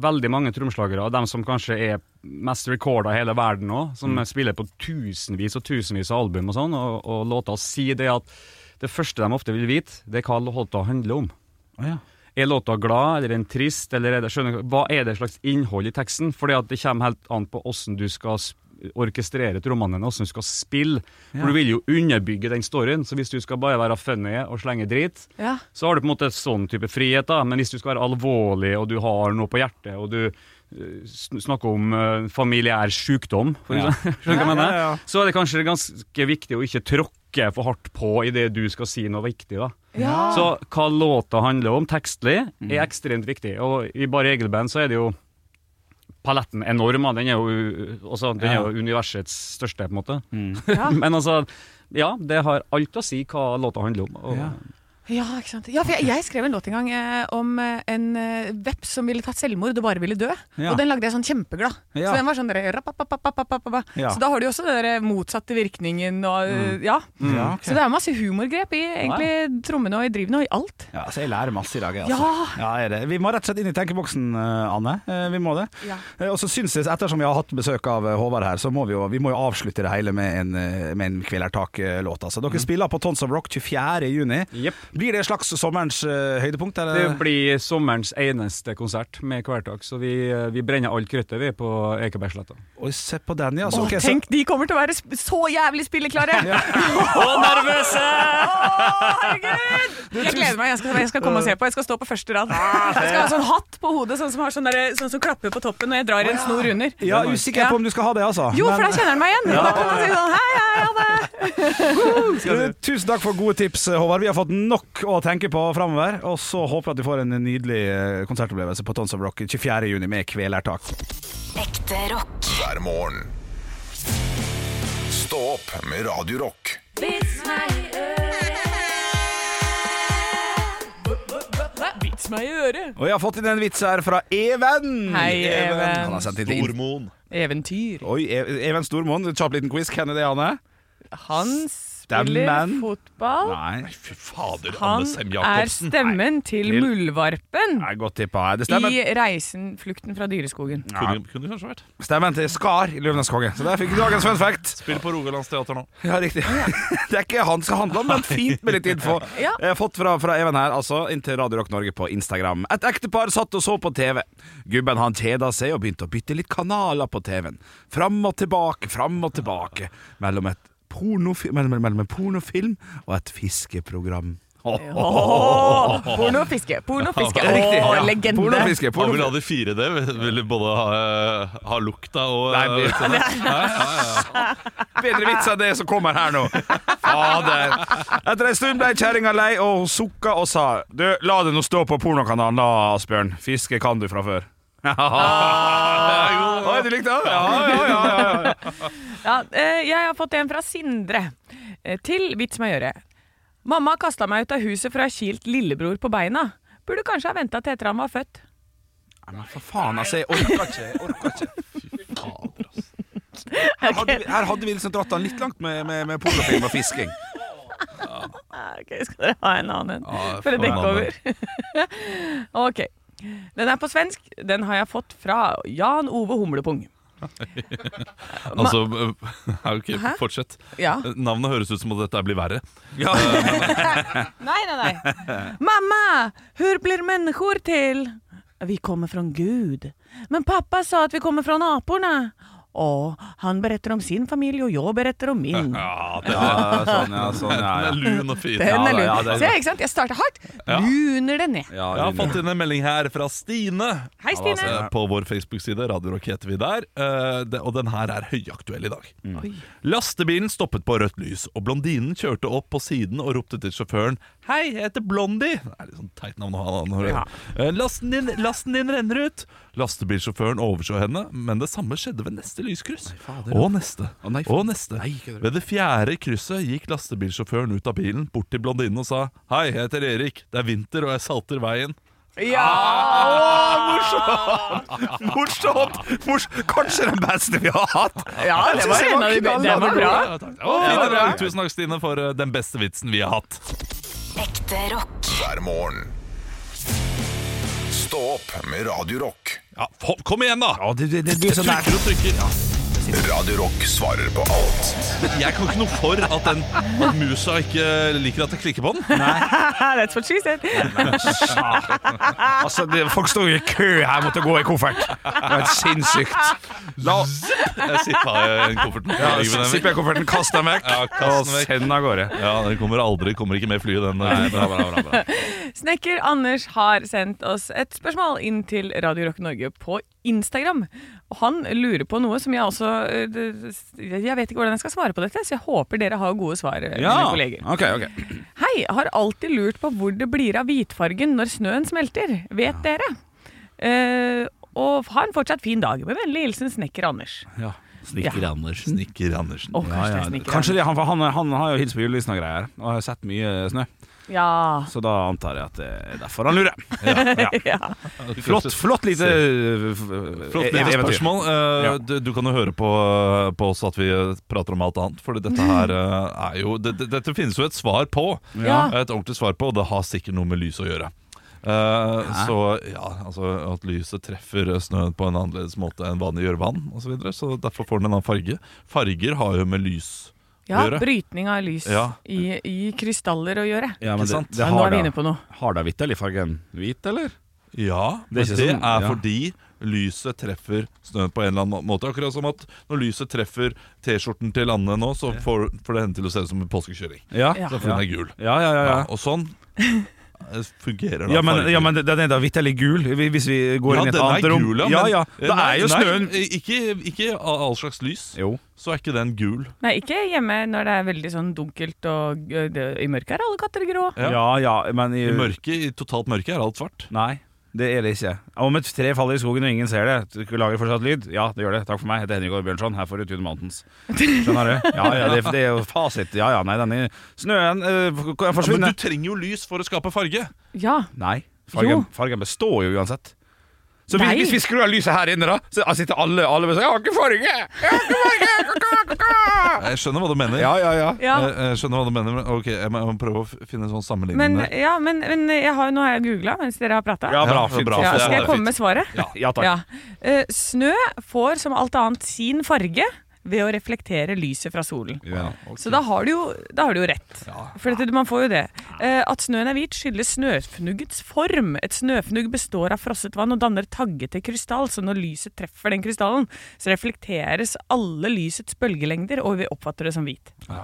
H: veldig mange tromslagere, og dem som kanskje er mest recorda i hele verden nå, som
C: Mm.
H: spiller på tusenvis og tusenvis av album og sånn, og, og låter, sier det at det første de ofte vil vite, det er hva låta handler om.
C: Å, ja.
H: Er låta glad, eller er den trist, eller er det, skjønner, du, hva er det slags innhold i teksten? Fordi at det kommer helt an på hvordan du skal sp- orkestrere trommene dine, hvordan du skal spille. For du vil jo underbygge den storyen, så hvis du skal bare være funny og slenge drit,
D: Ja.
H: så har du på en måte sånn type frihet, da. Men hvis du skal være alvorlig, og du har noe på hjertet, og du eh, sn- snakker om eh, familiær sykdom, for
C: Ja.
H: eksempel, skjønner du hva jeg
C: Ja, ja, ja.
H: mener, så er det kanskje ganske viktig å ikke tråkke for hardt på i det du skal si noe viktig, da. Så hva låta handler om tekstlig,
C: Mm.
H: er ekstremt viktig. Og i Bare Egil-band så er det jo paletten enorm, da. den er jo, altså, den er
C: Ja. Mm.
H: jo universets største, på en måte.
D: Ja.
H: Men altså, ja, det har alt å si hva låta handler om. Og,
C: Ja.
D: Ja, ikke sant? ja, for jeg, jeg skrev en låt en gang eh, om eh, en eh, veps som ville tatt selvmord og bare ville dø.
C: Ja.
D: Og den lagde jeg sånn kjempeglad.
C: Ja.
D: Så den var sånn der, rapapapapapapapa.
C: Ja.
D: Så da har du jo også den der motsatte virkningen og eh, ja.
C: Ja, ok.
D: Så det er masse humorgrep i egentlig trommene og i drivene og i alt.
C: Ja, så jeg lærer masse i dag. jeg,
D: Ja.
C: Altså. Ja, er det. Vi må rett og slett inn i tenkeboksen, eh, Anne. Eh, Vi må det.
D: Ja.
C: Eh, Og så syns jeg, ettersom vi har hatt besøk av eh, Håvard her, så må vi jo, vi må jo avslutte det hele med en, eh, med en Kvelertak-låt. Altså.
D: Mm.
C: Dere spiller på Tons of Rock 24. juni.
H: Jepp.
C: Blir det et slags sommerens eh, høydepunkt? Eller?
H: Det blir sommerens eneste konsert med Kvelertak, så vi, eh, vi brenner alt kruttet vi på Ekebergsletta.
C: Oi, se på den, ja. Så,
D: Åh,
C: ok, så-
D: tenk, de kommer til å være sp- så jævlig spilleklare!
H: Og nervøse!
D: Åh, herregud! Jeg gleder meg. Jeg skal, jeg skal komme og se på. Jeg skal stå på første
C: Ah,
D: rad. Jeg skal ha sånn hatt på hodet, sånn som, har sånn, der, sånn som klapper på toppen når jeg drar en snor under.
C: Ah. Ja, usikker
D: Ja.
C: på om du skal ha det, altså.
D: Jo, for
C: Men-
D: da kjenner han meg igjen. Da kan han si sånn hei, hei, Anne.
C: Eh, Tusen takk for gode tips, eh, Håvard. Vi har fått nok å tenke på framover. Og så håper jeg at du får en nydelig eh, konsertopplevelse på Tons of Rock 24.6 med Kvelertak.
E: Ekte rock.
A: hver morgen. Stå opp med Radio Rock.
D: Vits meg i øret.
C: Og jeg har fått inn en vits her fra Even.
D: Hei, Even.
C: Han har sendt inn inn.
B: Stormoen.
D: Eventyr.
C: Oi, E- Even Stormoen. Kjapp liten quiz. Hvem er det, Anne?
D: Han
C: Det er
D: spiller
C: man.
D: fotball.
C: Nei,
B: Fy fader,
D: Han
B: Anne Sem
D: er
B: Jacobsen.
D: stemmen til
C: Til-
D: Muldvarpen
C: Nei godt tippa. Det
D: i
C: stemmer.
D: reisen Flukten fra dyreskogen.
B: Kunne, kunne kanskje vært.
C: Stemmen til Skar i Løvenes konge. Så der fikk du dagens fun fact.
B: Spiller på Rogalands Teater nå.
C: Ja, riktig. Det er ikke han skal handle om, men fint med litt info.
D: Ja.
C: Jeg har fått fra, fra Even her, altså, inn til Radio Rock Norge på Instagram. Et ektepar satt og så på TV. Gubben han kjeda seg og begynte å bytte litt kanaler på TV-en. Fram og tilbake, fram og tilbake. Mellom, et pornofi mellom, mellom en pornofilm og et fiskeprogram.
D: Åh, Porno og fiske, porno og fiske.
C: Riktig,
D: Åh,
C: ja.
D: legende.
C: Pornofiske.
B: Han
C: Porno
B: vil ha de fire d Vil både ha, eh, ha lukta og
C: Nei,
B: eh,
C: det-
B: Nei, ja, ja, ja.
C: Bedre vits enn det som kommer her nå. Fader. Etter en stund ble kjerringa lei, og hun sukka og sa Du, la det nå stå på pornokanalen da, Asbjørn. Fiske kan du fra før. Oi, du likte den? Ja, ja, ja, ja, ja.
D: Ja, eh, jeg har fått en fra Sindre. Eh, Til vits med å gjøre. Mamma kasta meg ut av huset for å ha kilt lillebror på beina. Burde kanskje ha venta til etter han var født.
C: Nei, Men for faen, altså. Jeg orker ikke. Jeg orker ikke. altså. Her hadde, vi, her hadde vi liksom dratt den litt langt med, med, med pornofilm og fisking.
D: Ah, Ok, skal dere ha en annen en?
B: Ja,
D: For å
B: faen,
D: dekke
B: Anne.
D: over. ok. Den er på svensk. Den har jeg fått fra Jan Ove Humlepung.
B: Altså, eh, ok,
D: Hæ?
B: fortsett.
D: Ja.
B: Eh, Navnet høres ut som at dette blir verre.
D: Nei, nei, nei. Mamma, hur blir människor till? Vi kommer från Gud. Men pappa sa att vi kommer från aporna. Åh, han berättar om sin familj och jag berättar om min.
C: Ja, det var sånn, ja. Sånn, ja,
B: Den
C: ja.
B: er lun og fin.
D: Den
C: Ja,
D: er
C: da,
D: lun.
C: ja, det er-
D: Se, ikke sant? Jeg starter hardt.
B: Ja.
D: Luner den ned.
C: ja
B: Jeg har
C: Lille.
B: fått inn en melding her fra Stine.
D: Hei, Stine.
B: Eh, På vår Facebook-side, Radio Rock heter vi der. eh, det- Og den her er høyaktuell i dag.
G: Mm.
B: Lastebilen stoppet på rødt lys, og blondinen kjørte opp på siden og ropte til sjåføren Hei, jeg heter Blondie. Det er litt sånn teit navn å ha. da, når- Eh, Lasten, din, lasten din renner ut. Lastebilsjåføren overså henne, men det samme skjedde ved neste lyskryss. og neste.
G: Å, nei,
B: og neste.
G: kødder du?
B: ved det fjerde krysset gikk lastebilsjåføren ut av bilen, bort til blondinen og sa Hei, jeg heter Erik. Det er vinter, og jeg salter veien.
C: Morsomt! Mors Kanskje den beste vi har hatt!
D: Ja, det var en av de be- det var bra.
B: Fine dag. Tusen takk, Stine, for eh, den beste vitsen vi har hatt.
E: Ekte rock.
A: hver morgen. Stå opp med Radio Rock.
B: Ja, få- kom igjen, da!
C: Ja, du, du, du, du er sånn så nær.
B: Trykker og trykker.
A: Radio Rock svarer på alt
B: Jeg kan ikke noe for at, den, at musa ikke liker at jeg klikker på den.
D: That's what she said.
C: Altså, det, folk står jo i kø her mot å gå i koffert. Det er helt sinnssykt. La oss
B: Jeg sippa i kofferten.
C: ja,
B: Jeg ligger med den.
C: Sippe kofferten, kast den vekk,
B: Ja, kast den
C: og
B: vekk.
C: send den av gårde.
B: Ja, den kommer aldri, kommer ikke med flyet, den.
C: Nei, bra, bra, bra, bra.
D: Snekker Anders har sendt oss et spørsmål inn til Radio Rock Norge på Instagram. Og han lurer på noe som jeg også eh, det- Jeg vet ikke hvordan jeg skal svare på dette, så jeg håper dere har gode svar, eh, mine kolleger.
C: ok, ok.
D: Hei, har alltid lurt på hvor det blir av hvitfargen når snøen smelter. Vet dere? Eh, og ha en fortsatt fin dag. Med vennlig hilsen snekker Anders.
C: Ja.
D: Snikker
C: Andersen.
B: Snikker Andersen.
D: Å, kanskje det er snekker
C: Kanskje det, han, for han, han har jo hilst på julenissen og greier, og har sett mye snø.
D: Anders. Ja.
C: Så da antar jeg at det er derfor han lurer. Ja.
D: ja.
C: Flott, flott lite eh,
B: Flott
C: Flott
B: lite spørsmål. Eh,
C: E- Ja.
B: du, du kan jo høre på, på oss at vi eh, prater om alt annet, for dette her eh, er jo det, det, Dette finnes jo et svar på.
D: Ja.
B: Et ordentlig svar på, og det har sikkert noe med lys å gjøre. Eh, så ja, altså At lyset treffer snøen på en annerledes måte enn vanlig gjør vann. Og så, videre, så derfor får den en annen farge. Farger har jo med lys å
D: ja
B: gjøre.
D: brytning av lys
B: Ja.
D: i, i krystaller å gjøre.
C: Ja,
B: Ikke
C: men det,
B: sant?
C: det
D: Men nå
C: har
D: er vi
C: da-
D: inne på noe.
C: Har da hvitt eller fargen hvit, eller?
B: Ja,
C: Det er
B: men
C: ikke
B: det
C: sånn,
B: er
C: ja.
B: fordi lyset treffer snøen på en eller annen måte. Akkurat som at når lyset treffer T-skjorten til Anne nå, så får, får det henne til å se ut som en påskekjøring.
C: Ja,
D: Ja.
C: ja,
B: Så for den er gul.
C: ja. ja,
B: Ja,
C: ja.
B: og sånn eh, fungerer da
C: Ja men,
B: farger.
C: ja, men den er da hvitt eller gul, hvi- hvis vi går
B: Ja,
C: inn i et
B: den er
C: annet rom.
B: gul, ja,
C: ja,
B: men-
C: ja. Da
B: Nei,
C: er jo
B: nei,
C: snøen
B: Ikke, ikke av all slags lys,
C: Jo.
B: så er ikke den gul.
D: Nei, ikke hjemme når det er veldig sånn dunkelt og ø, det, i mørket er alle katter grå.
B: Ja.
C: Ja, ja, men i,
B: I mørke, i totalt mørke er alt svart.
C: Nei, det er det ikke. Om et tre faller i skogen og ingen ser det, lager det fortsatt lyd? Ja, det gjør det. Takk for meg. Jeg heter Henrik Aar Bjørnson. Her får du Tune Mountains. Skjønner du? Ja, ja, det, det er jo fasit. Ja, ja, nei, denne snøen øh, f-
B: Ja, men
C: forsvinner.
B: du trenger jo lys for å skape farge.
D: Ja.
C: Nei,
D: Jo.
C: fargen, fargen består jo uansett. Så hvis,
D: Nei.
C: hvis vi skrur av lyset her inne, da, så altså, sitter alle, alle og sier 'Jeg har ikke farge!' Jeg har ikke farge! Ka-ka-ka-ka!»
B: Jeg skjønner hva du mener.
C: Ja, ja, ja.
D: ja.
B: Jeg, jeg skjønner hva du mener, men ok, jeg må, jeg må prøve å f- finne en sånn
D: Men,
B: sammenligning der.
D: ja, men, men jeg har, nå har jeg googla mens dere har prata.
C: Ja,
B: Ja,
C: bra. Fint.
B: bra.
D: Ja,
B: det
D: skal
B: er
D: jeg komme
B: fint.
D: med svaret?
C: Ja, ja takk.
D: Ja. Eh, snø får som alt annet sin farge ved å reflektere lyset fra solen.
C: Ja.
D: Så da har du jo, da har du jo rett. For dette, man får jo det. Eh, at snøen er hvit, skyldes snøfnuggets form. Et snøfnugg består av frosset vann og danner taggete krystall, så når lyset treffer den krystallen, så reflekteres alle lysets bølgelengder, og vi oppfatter det som hvit.
C: Jeg,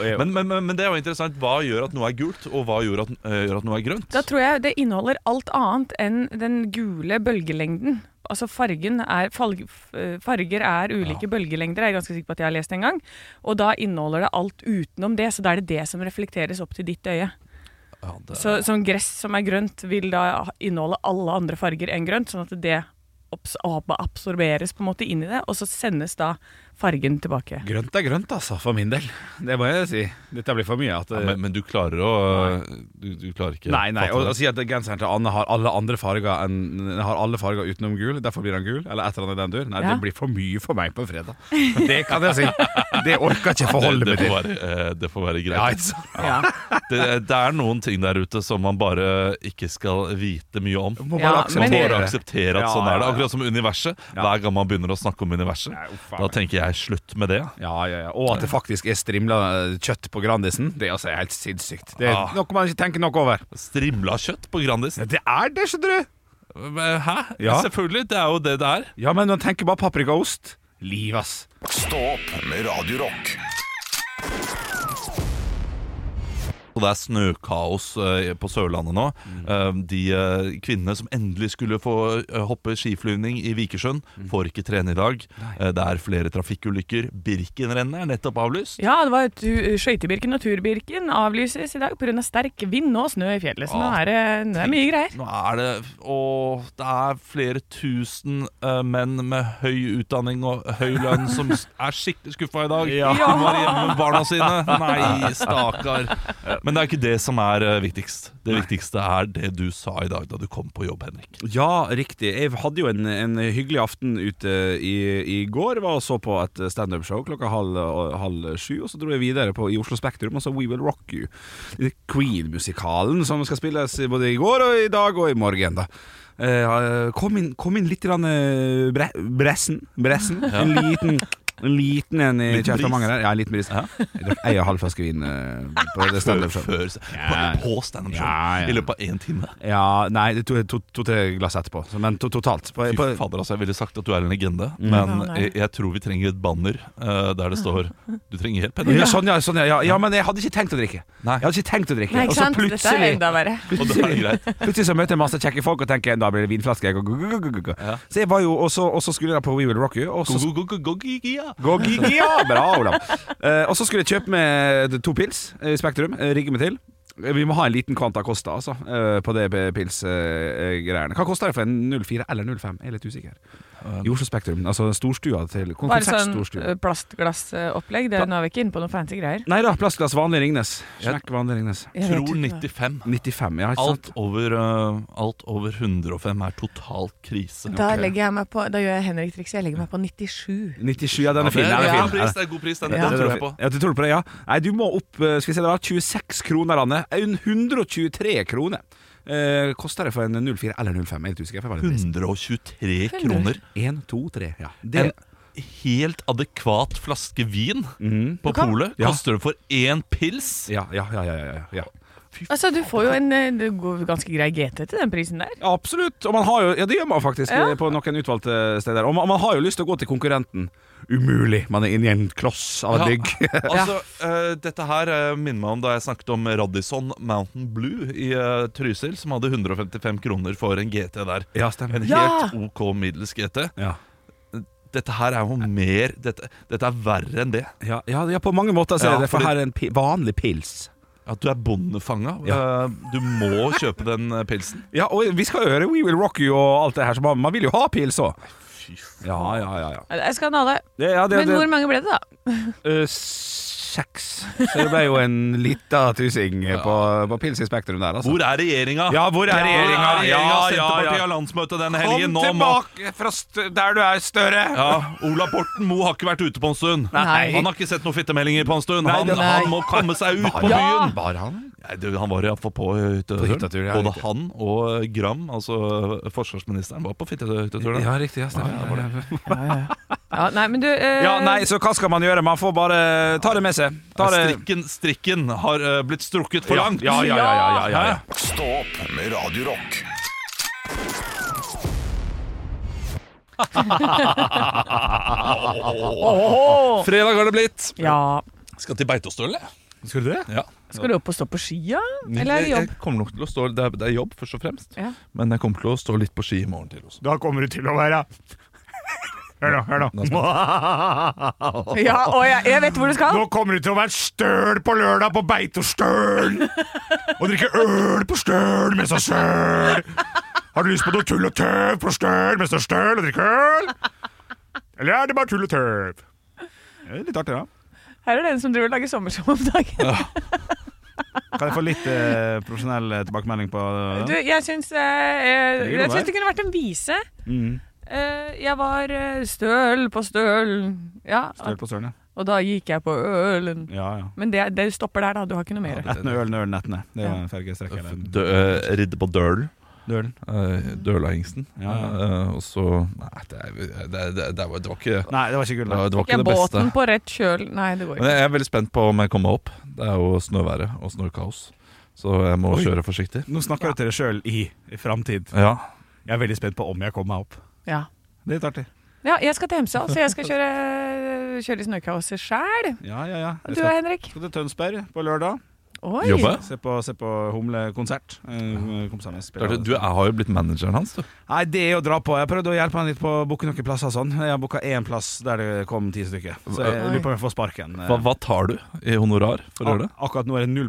C: jeg,
B: Men, men, men, men det er jo interessant. Hva gjør at noe er gult, og hva gjør at, eh, gjør at noe er grønt?
D: Da tror jeg det inneholder alt annet enn den gule bølgelengden. Altså fargen er, falg- f- eh, farger er ulike bølgelengder, er jeg ganske sikker på at jeg har lest en gang. Og da inneholder det alt utenom det, så da er det det som reflekteres opp til ditt øye.
B: Ja, det-
D: Så som gress som er grønt, vil da inneholde alle andre farger enn grønt, sånn at det obs- ab- absorberes på en måte inn i det, og så sendes da fargen tilbake.
C: Grønt er grønt, altså, for min del. Det må jeg si. Dette blir for mye. At, eh,
B: Ja, Eh, men, men du klarer å du, du klarer ikke
C: nei, nei,
B: fatte
C: og, altså,
B: det.
C: og si at genseren til Anne har alle andre farger enn den har alle farger utenom gul, derfor blir han gul, eller et eller annet i den dur. Nei,
D: Ja.
C: det blir for mye for meg på en fredag. Det kan jeg si. Det orker jeg ikke forholde
B: det, det,
C: meg til.
B: får være, eh, det får være greit.
C: Ja, ikke sant?
D: Ja.
B: det, det er noen ting der ute som man bare ikke skal vite mye om.
C: Må
D: Ja,
C: bare
B: Man
D: men-
B: får
C: akseptere
B: akseptere
C: det.
B: at
C: Ja,
B: sånn er det.
C: ja, ja.
B: Akkurat som universet. Hver gang man begynner å snakke om universet,
C: Nei, uff, faen
B: da
C: meg.
B: tenker jeg slutt med det.
C: Ja, ja, ja. Og at det faktisk er strimla eh, kjøtt på Grandisen, det er altså helt sinnssykt. Det er
B: Ah.
C: noe man ikke tenker nok over.
B: Strimla kjøtt på Grandis. eh,
C: Ja, Det er det, skjønner du.
B: Hæ?
C: Ja.
B: Selvfølgelig, det er jo det det er.
C: Ja, men man tenker bare paprika og ost. Liv, ass.
A: Stå opp med Radio Rock.
B: Og det er snøkaos eh, på Sørlandet nå.
C: Mm.
B: Eh, de eh, kvinnene som endelig skulle få eh, hoppe skiflyvning i Vikersund,
C: Mm.
B: får ikke trene i dag. Eh, det er flere trafikkulykker. Birkenrennet er nettopp avlyst.
D: Ja, det var tu- skøytebirken og turbirken avlyses i dag pga. sterk vind og snø i fjellet. Så nå er det, det er mye greier.
B: Nå er det Å, det er flere tusen eh, menn med høy utdanning og høy lønn som s- er skikkelig skuffa i dag.
H: Ja.
B: De var hjemme med barna sine. Nei, stakkar. Men det er ikke det som er eh, viktigst. Det viktigste er det du sa i dag da du kom på jobb, Henrik.
C: Ja, riktig. Jeg hadde jo en, en hyggelig aften ute i, i går. Var og så på et standup-show klokka halv, halv sju. Og så dro jeg videre på, i Oslo Spektrum og så We Will Rock You. Queen-musikalen som skal spilles både i går og i dag og i morgen. da Eh, kom, inn, kom inn litt grann, eh, bre, bressen. bressen. En liten en liten en i
B: Liten bris.
C: kjeftemangen der. Ja, en liten bris. Jeg drakk ei og halv flaske vin eh, på det
B: før,
C: standup-showet.
B: før
C: Ja.
B: På, på standup show
C: Ja, ja.
B: i løpet av én time.
C: Ja, nei, det to- to- to-tre glass etterpå. Så, men to, totalt. På,
B: Fy
C: på,
B: fader, altså, Jeg ville sagt at du er en legende,
D: Ja,
B: men
D: nei.
B: jeg, jeg tror vi trenger et banner eh, der det står 'Du trenger hjelp'. Henrik».
C: Ja, sånn, ja, sånn, ja, ja, ja, men jeg hadde ikke tenkt å drikke. Jeg hadde ikke tenkt å drikke
D: Nei,
C: Og
D: ikke
C: så
D: sant? Dette er
C: plutselig
D: enda verre.
B: Og da er det greit.
C: Plutselig så møter jeg masse kjekke folk og tenker da blir det vinflaske. jeg går, gu, gu, gu, gu, gu.
B: Ja.
C: Så jeg var jo, og så, og så skulle jeg på We Will Rock You. Og så,
B: Go, go, go, go, go, yeah.
C: Gå, gi, gi, ja, bra, Olav. Eh, og så skulle jeg kjøpe med to pils i Spektrum. eh, rigge meg til. Eh, Vi må ha en liten Quanta Costa altså, eh, på det pilsgreiene. Hva koster det for en 04 eller 05? Jeg er litt usikker. I Oslo Spektrum, altså storstua til
D: Bare sånn
C: konsertstorstua.
D: eh, plastglassopplegg. Det, nå er vi ikke inne på noen fancy greier.
C: Nei da, plastglass vanlig Ringnes.
B: Ja.
C: Smekk vanlig Ringnes.
D: Jeg vet
B: Tror
D: ikke.
B: 95.
C: 95, ja, ikke sant?
B: Alt over, eh, alt over 105 er total krise.
D: Da, legger jeg meg på, da gjør jeg Henrik-trikset. Jeg legger meg på 97.
C: 97, ja, den
B: Ja,
C: er fin.
B: det,
C: Den
B: er
C: er
B: god
C: fin.
B: pris, det er god pris. Den,
D: Ja.
B: den tror jeg på.
C: Ja, du tror på det, ja. Nei, du må opp eh, Skal vi se, det var 26 kroner, Anne. Eh, En 123 kroner. Eh, koster det for en 04 eller 05? Jeg er litt usikker. for jeg var litt trist.
B: 123 kroner.
C: 1, 2, 3. Ja. Det,
B: En helt adekvat flaske vin på
D: kan-
B: polet
C: Ja.
B: koster det for én pils.
C: Mhm. ja, ja, ja, ja, ja, ja, ja.
D: Altså, du får jo en eh, det går ganske grei GT til den prisen der.
C: Absolutt. Og man har jo, ja, det gjør man faktisk
D: Ja.
C: eh, på noen utvalgte steder. Og man, man har jo lyst til å gå til konkurrenten. Umulig. Man er inni en kloss av
B: Ja.
C: en dygg.
B: Altså, eh, Dette her eh, minner meg om da jeg snakket om Radisson Mountain Blue i eh, Trysil, som hadde 155 kroner for en GT der.
C: Ja,
B: En
C: stemmer.
D: Ja!
B: helt OK middels GT.
C: Ja.
B: Dette her er jo mer Dette, dette er verre enn det.
C: Ja, ja, ja, på mange måter så er
B: Ja,
C: det for
B: fordi-
C: her er en pi vanlig pils.
B: At du er bondefanga.
C: Ja.
B: Eh, Du må kjøpe den eh, pilsen.
C: Ja, og vi skal høre We Will Rock You og alt det her, så man, man vil jo ha pils òg. Ja, ja, ja. ja.
D: Ja, Det er skandale.
C: Det, ja det,
D: Men hvor
C: det,
D: mange ble det, da?
C: øh, seks. Så det ble jo en lita tusing på, på pils i Spektrum der, altså.
B: Hvor er regjeringa?
C: ja, hvor er regjeringa?
B: Ja,
C: Ja,
B: Senterpartiet
C: ja,
B: har landsmøte denne
C: ja.
B: helgen.
C: Kom
B: Nå må
C: tilbake fra st der du er, Støre!
B: ja, Ola Borten Moe har ikke vært ute på en stund.
D: Nei.
B: Han har ikke sett noen fittemeldinger på en stund.
C: Nei,
B: han,
C: det-
B: han må komme seg ut på byen.
C: Bare han?
B: Nei, du, han var iallfall på hytteturen.
C: hyttetur, ja,
B: Både
C: riktig.
B: han og Gram, altså forsvarsministeren, var på hytteturen.
C: Ja, riktig. Ja, stemmer. Ja,
D: Ja, nei, men du eh,
C: nei, så hva skal man gjøre? Man får bare ta det med seg. Ta det
B: Strikken, strikken har eh, blitt strukket for langt.
C: Ja, ja, ja, ja, ja, ja.
A: Stå opp med Radio Rock.
D: åh!
B: Fredag har det blitt.
D: Ja.
B: Skal til Beitostølen, jeg.
C: Skal du det?
B: Ja.
D: Skal du opp og stå på skia, eller er det
B: Jeg,
D: jobb?
B: jeg kommer nok til å stå, det, er, det er jobb, først og fremst.
D: Ja.
B: Men jeg kommer til å stå litt på ski i morgen til også.
I: Da kommer du til å være Hør nå, hør nå.
D: Ja, og jeg, jeg vet hvor du skal.
I: Nå kommer du til å være støl på lørdag på Beitostølen! Og drikke øl på Støl med seg sjøl! Har Har du lyst på noe tull og tøv på støl med størst støl og drikke øl? Eller er det bare tull og tøv?
C: Det er Litt artig, da.
D: Her er det en som driver og lager sommershow om dagen.
C: Kan jeg få litt eh, profesjonell eh, tilbakemelding på
D: Du,
C: det?
D: jeg syns eh, eh,
C: Det er
D: jeg
C: god
D: syns
C: vei.
D: det kunne vært en vise.
C: Mm.
D: Eh, jeg var eh, støl på støl, ja,
C: Støl på sølen,
D: og da gikk jeg på ølen.
C: ja. ja, ja.
D: Men det, det stopper der, da. Du har ikke noe mer.
C: Nettene, ølen, ølen, nettene. Det er jo en fergestrekk. eller en-
B: Dø, eh, ridde på døl.
C: Dølen.
B: eh, Dølahingsten.
C: Ja,
B: Eh, og så Nei, det, er- det, det, det, var, det var ikke
C: Nei, det var ikke gull.
B: det var,
C: da.
B: det var
D: Ikke
B: ikke det beste.
D: båten på rett kjøl. Nei, det går
B: Men
D: ikke.
B: jeg er veldig spent på om jeg kommer opp. Det er jo snøværet og snøkaos, så jeg må
C: Oi.
B: kjøre forsiktig.
C: Nå snakker du til deg sjøl i, i framtid.
B: Ja.
C: Jeg er veldig spent på om jeg kommer meg opp.
D: Ja.
C: Det er litt artig.
D: ja, jeg skal til Hemsedal, så jeg skal kjøre, eh, kjøre i snøkaoset sjæl.
C: Ja, ja, ja. Jeg
D: Du da,
C: skal,
D: Henrik?
C: skal til Tønsberg på lørdag.
D: Oi!
B: Jobbe?
C: Se på, se på humlekonsert. Eh, kompisene spiller.
B: Klart, Du er- har jo blitt manageren hans, du.
C: Nei, det er å dra på. Jeg prøvde å hjelpe han litt på å booke noen plasser og sånn. Jeg har booka én plass der det kom ti stykker. Så jeg lurer på om jeg får sparken. eh,
B: Hva, hva tar du i honorar for å gjøre det?
C: Ak- Akkurat nå er det 0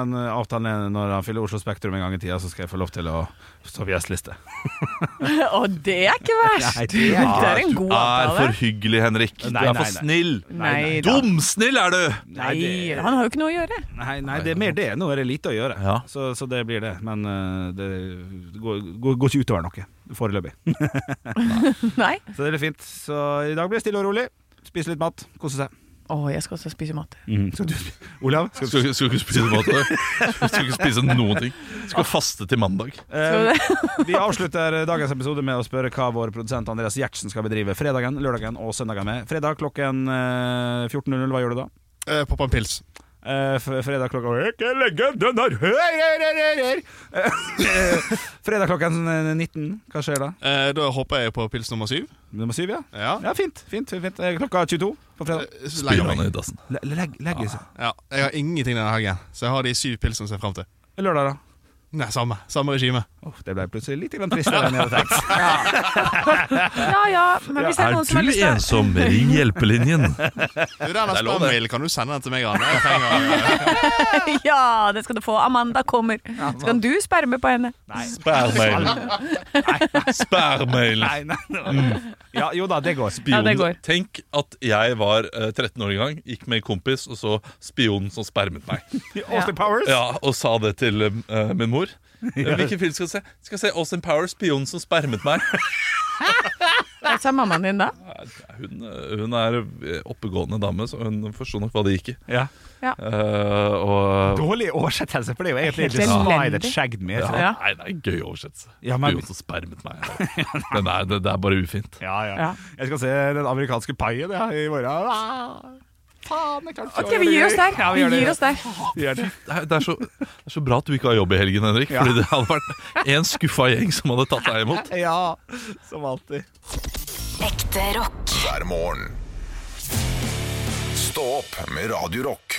C: men eh, avtalen er når han fyller Oslo Spektrum en gang i tida, så skal jeg få lov til å stå på gjesteliste.
D: Å, det er ikke verst!
C: Nei, det er ikke
D: Det er en god
B: Er for
D: avtale.
B: hyggelig, Henrik. Du er
C: Nei, nei,
B: for
C: nei.
B: snill.
D: Nei, da.
B: Dumsnill er du!
D: Nei, han har jo ikke noe å gjøre.
C: Nei, nei, det er mer det. Nå er det lite å gjøre,
B: Ja.
C: så, så det blir det. Men eh, det går, går, går ikke utover noe foreløpig.
D: Nei.
C: Så det blir fint. Så i dag blir det stille og rolig. Spise litt mat, kose seg.
D: Å, jeg skal også spise mat.
C: Skal du spi- Olav? Mhm. Skal du,
B: Skal, skal ikke spise mat i dag. Skal ikke spise noen ting. Skal faste til mandag.
D: Skal du
C: eh,
D: det?
C: vi avslutter dagens episode med å spørre hva vår produsent Andreas Gjertsen skal bedrive fredagen, lørdagen og søndagen med. Fredag klokken eh, 14.00, hva gjør du da?
G: Eh, Poppa en pils.
C: Eh, f- fredag klokka Ikke legge den der her, her, her, her, her. Eh, Fredag klokken eh, 19, hva skjer da?
G: Eh, da håper jeg på pils nummer syv.
C: Nummer syv, ja?
G: Ja.
C: Ja, fint. fint, fint. Eh, Klokka 22 på fredag.
G: Eh, så legger
B: Spyr
G: jeg
B: man
G: meg.
B: i dassen.
C: Le- Legg, legg i seg.
G: Ja, jeg har ingenting denne helgen, så jeg har de syv pilsene som jeg ser frem til.
C: Lørdag, da?
G: Nei, samme. Samme regime.
C: Åh, det ble plutselig litt grann tristere enn jeg hadde tenkt.
D: Ja ja, men hvis det er
B: Er
D: noen som har
B: du
D: lyst til å
B: ensom, ring hjelpelinjen.
G: Det
B: Det
G: er denne
B: er lov, det.
G: spam-mailen kan du sende den til meg, Anne. Jeg trenger,
D: Ja, det skal du få. Amanda kommer. Så kan du sperme på henne.
B: Spærmailen. Spærmailen.
C: Nei, nei, nei. Ja, jo da, det går.
D: Ja, det går.
B: Tenk at jeg var eh, 13 år i gang, gikk med en kompis, og så spionen som spermet meg.
C: Austin Powers.
B: Ja, Og sa det til eh, min mor. Eh, Hvilken film skal vi se? Skal vi se Austin Power, spionen som spermet meg.
D: Hva sa mammaen din da?
B: Hun, eh, hun er eh, oppegående dame, så hun forsto nok hva det gikk i.
C: Ja.
B: Eh, og
C: Dårlig oversettelse, for det er jo egentlig
D: Helt
C: just slide
D: elendig.
C: that shagged me.
B: ja,
D: Ja.
C: Ja.
B: Nei, det er en gøy oversettelse.
C: Ja, men-
B: Spionen som spermet meg. Men nei, det, det er bare ufint.
C: Ja,
D: Ja.
C: Jeg skal se den amerikanske paien ja, i morgen. Ah, faen, jeg klarte ikke å
D: Ok,
C: gjøre
D: vi
C: det
D: gir oss
C: gøy.
D: der.
C: Ja, vi
D: Vi
C: gjør det.
D: gir oss der.
C: Vi gjør det.
B: Det er, det, er så, det er så bra at du ikke har jobb i helgen, Henrik. Fordi det hadde vært en skuffa gjeng som hadde tatt deg imot.
C: Ja, som alltid.
E: Ekte rock.
A: hver morgen. Stå opp med Radio Rock.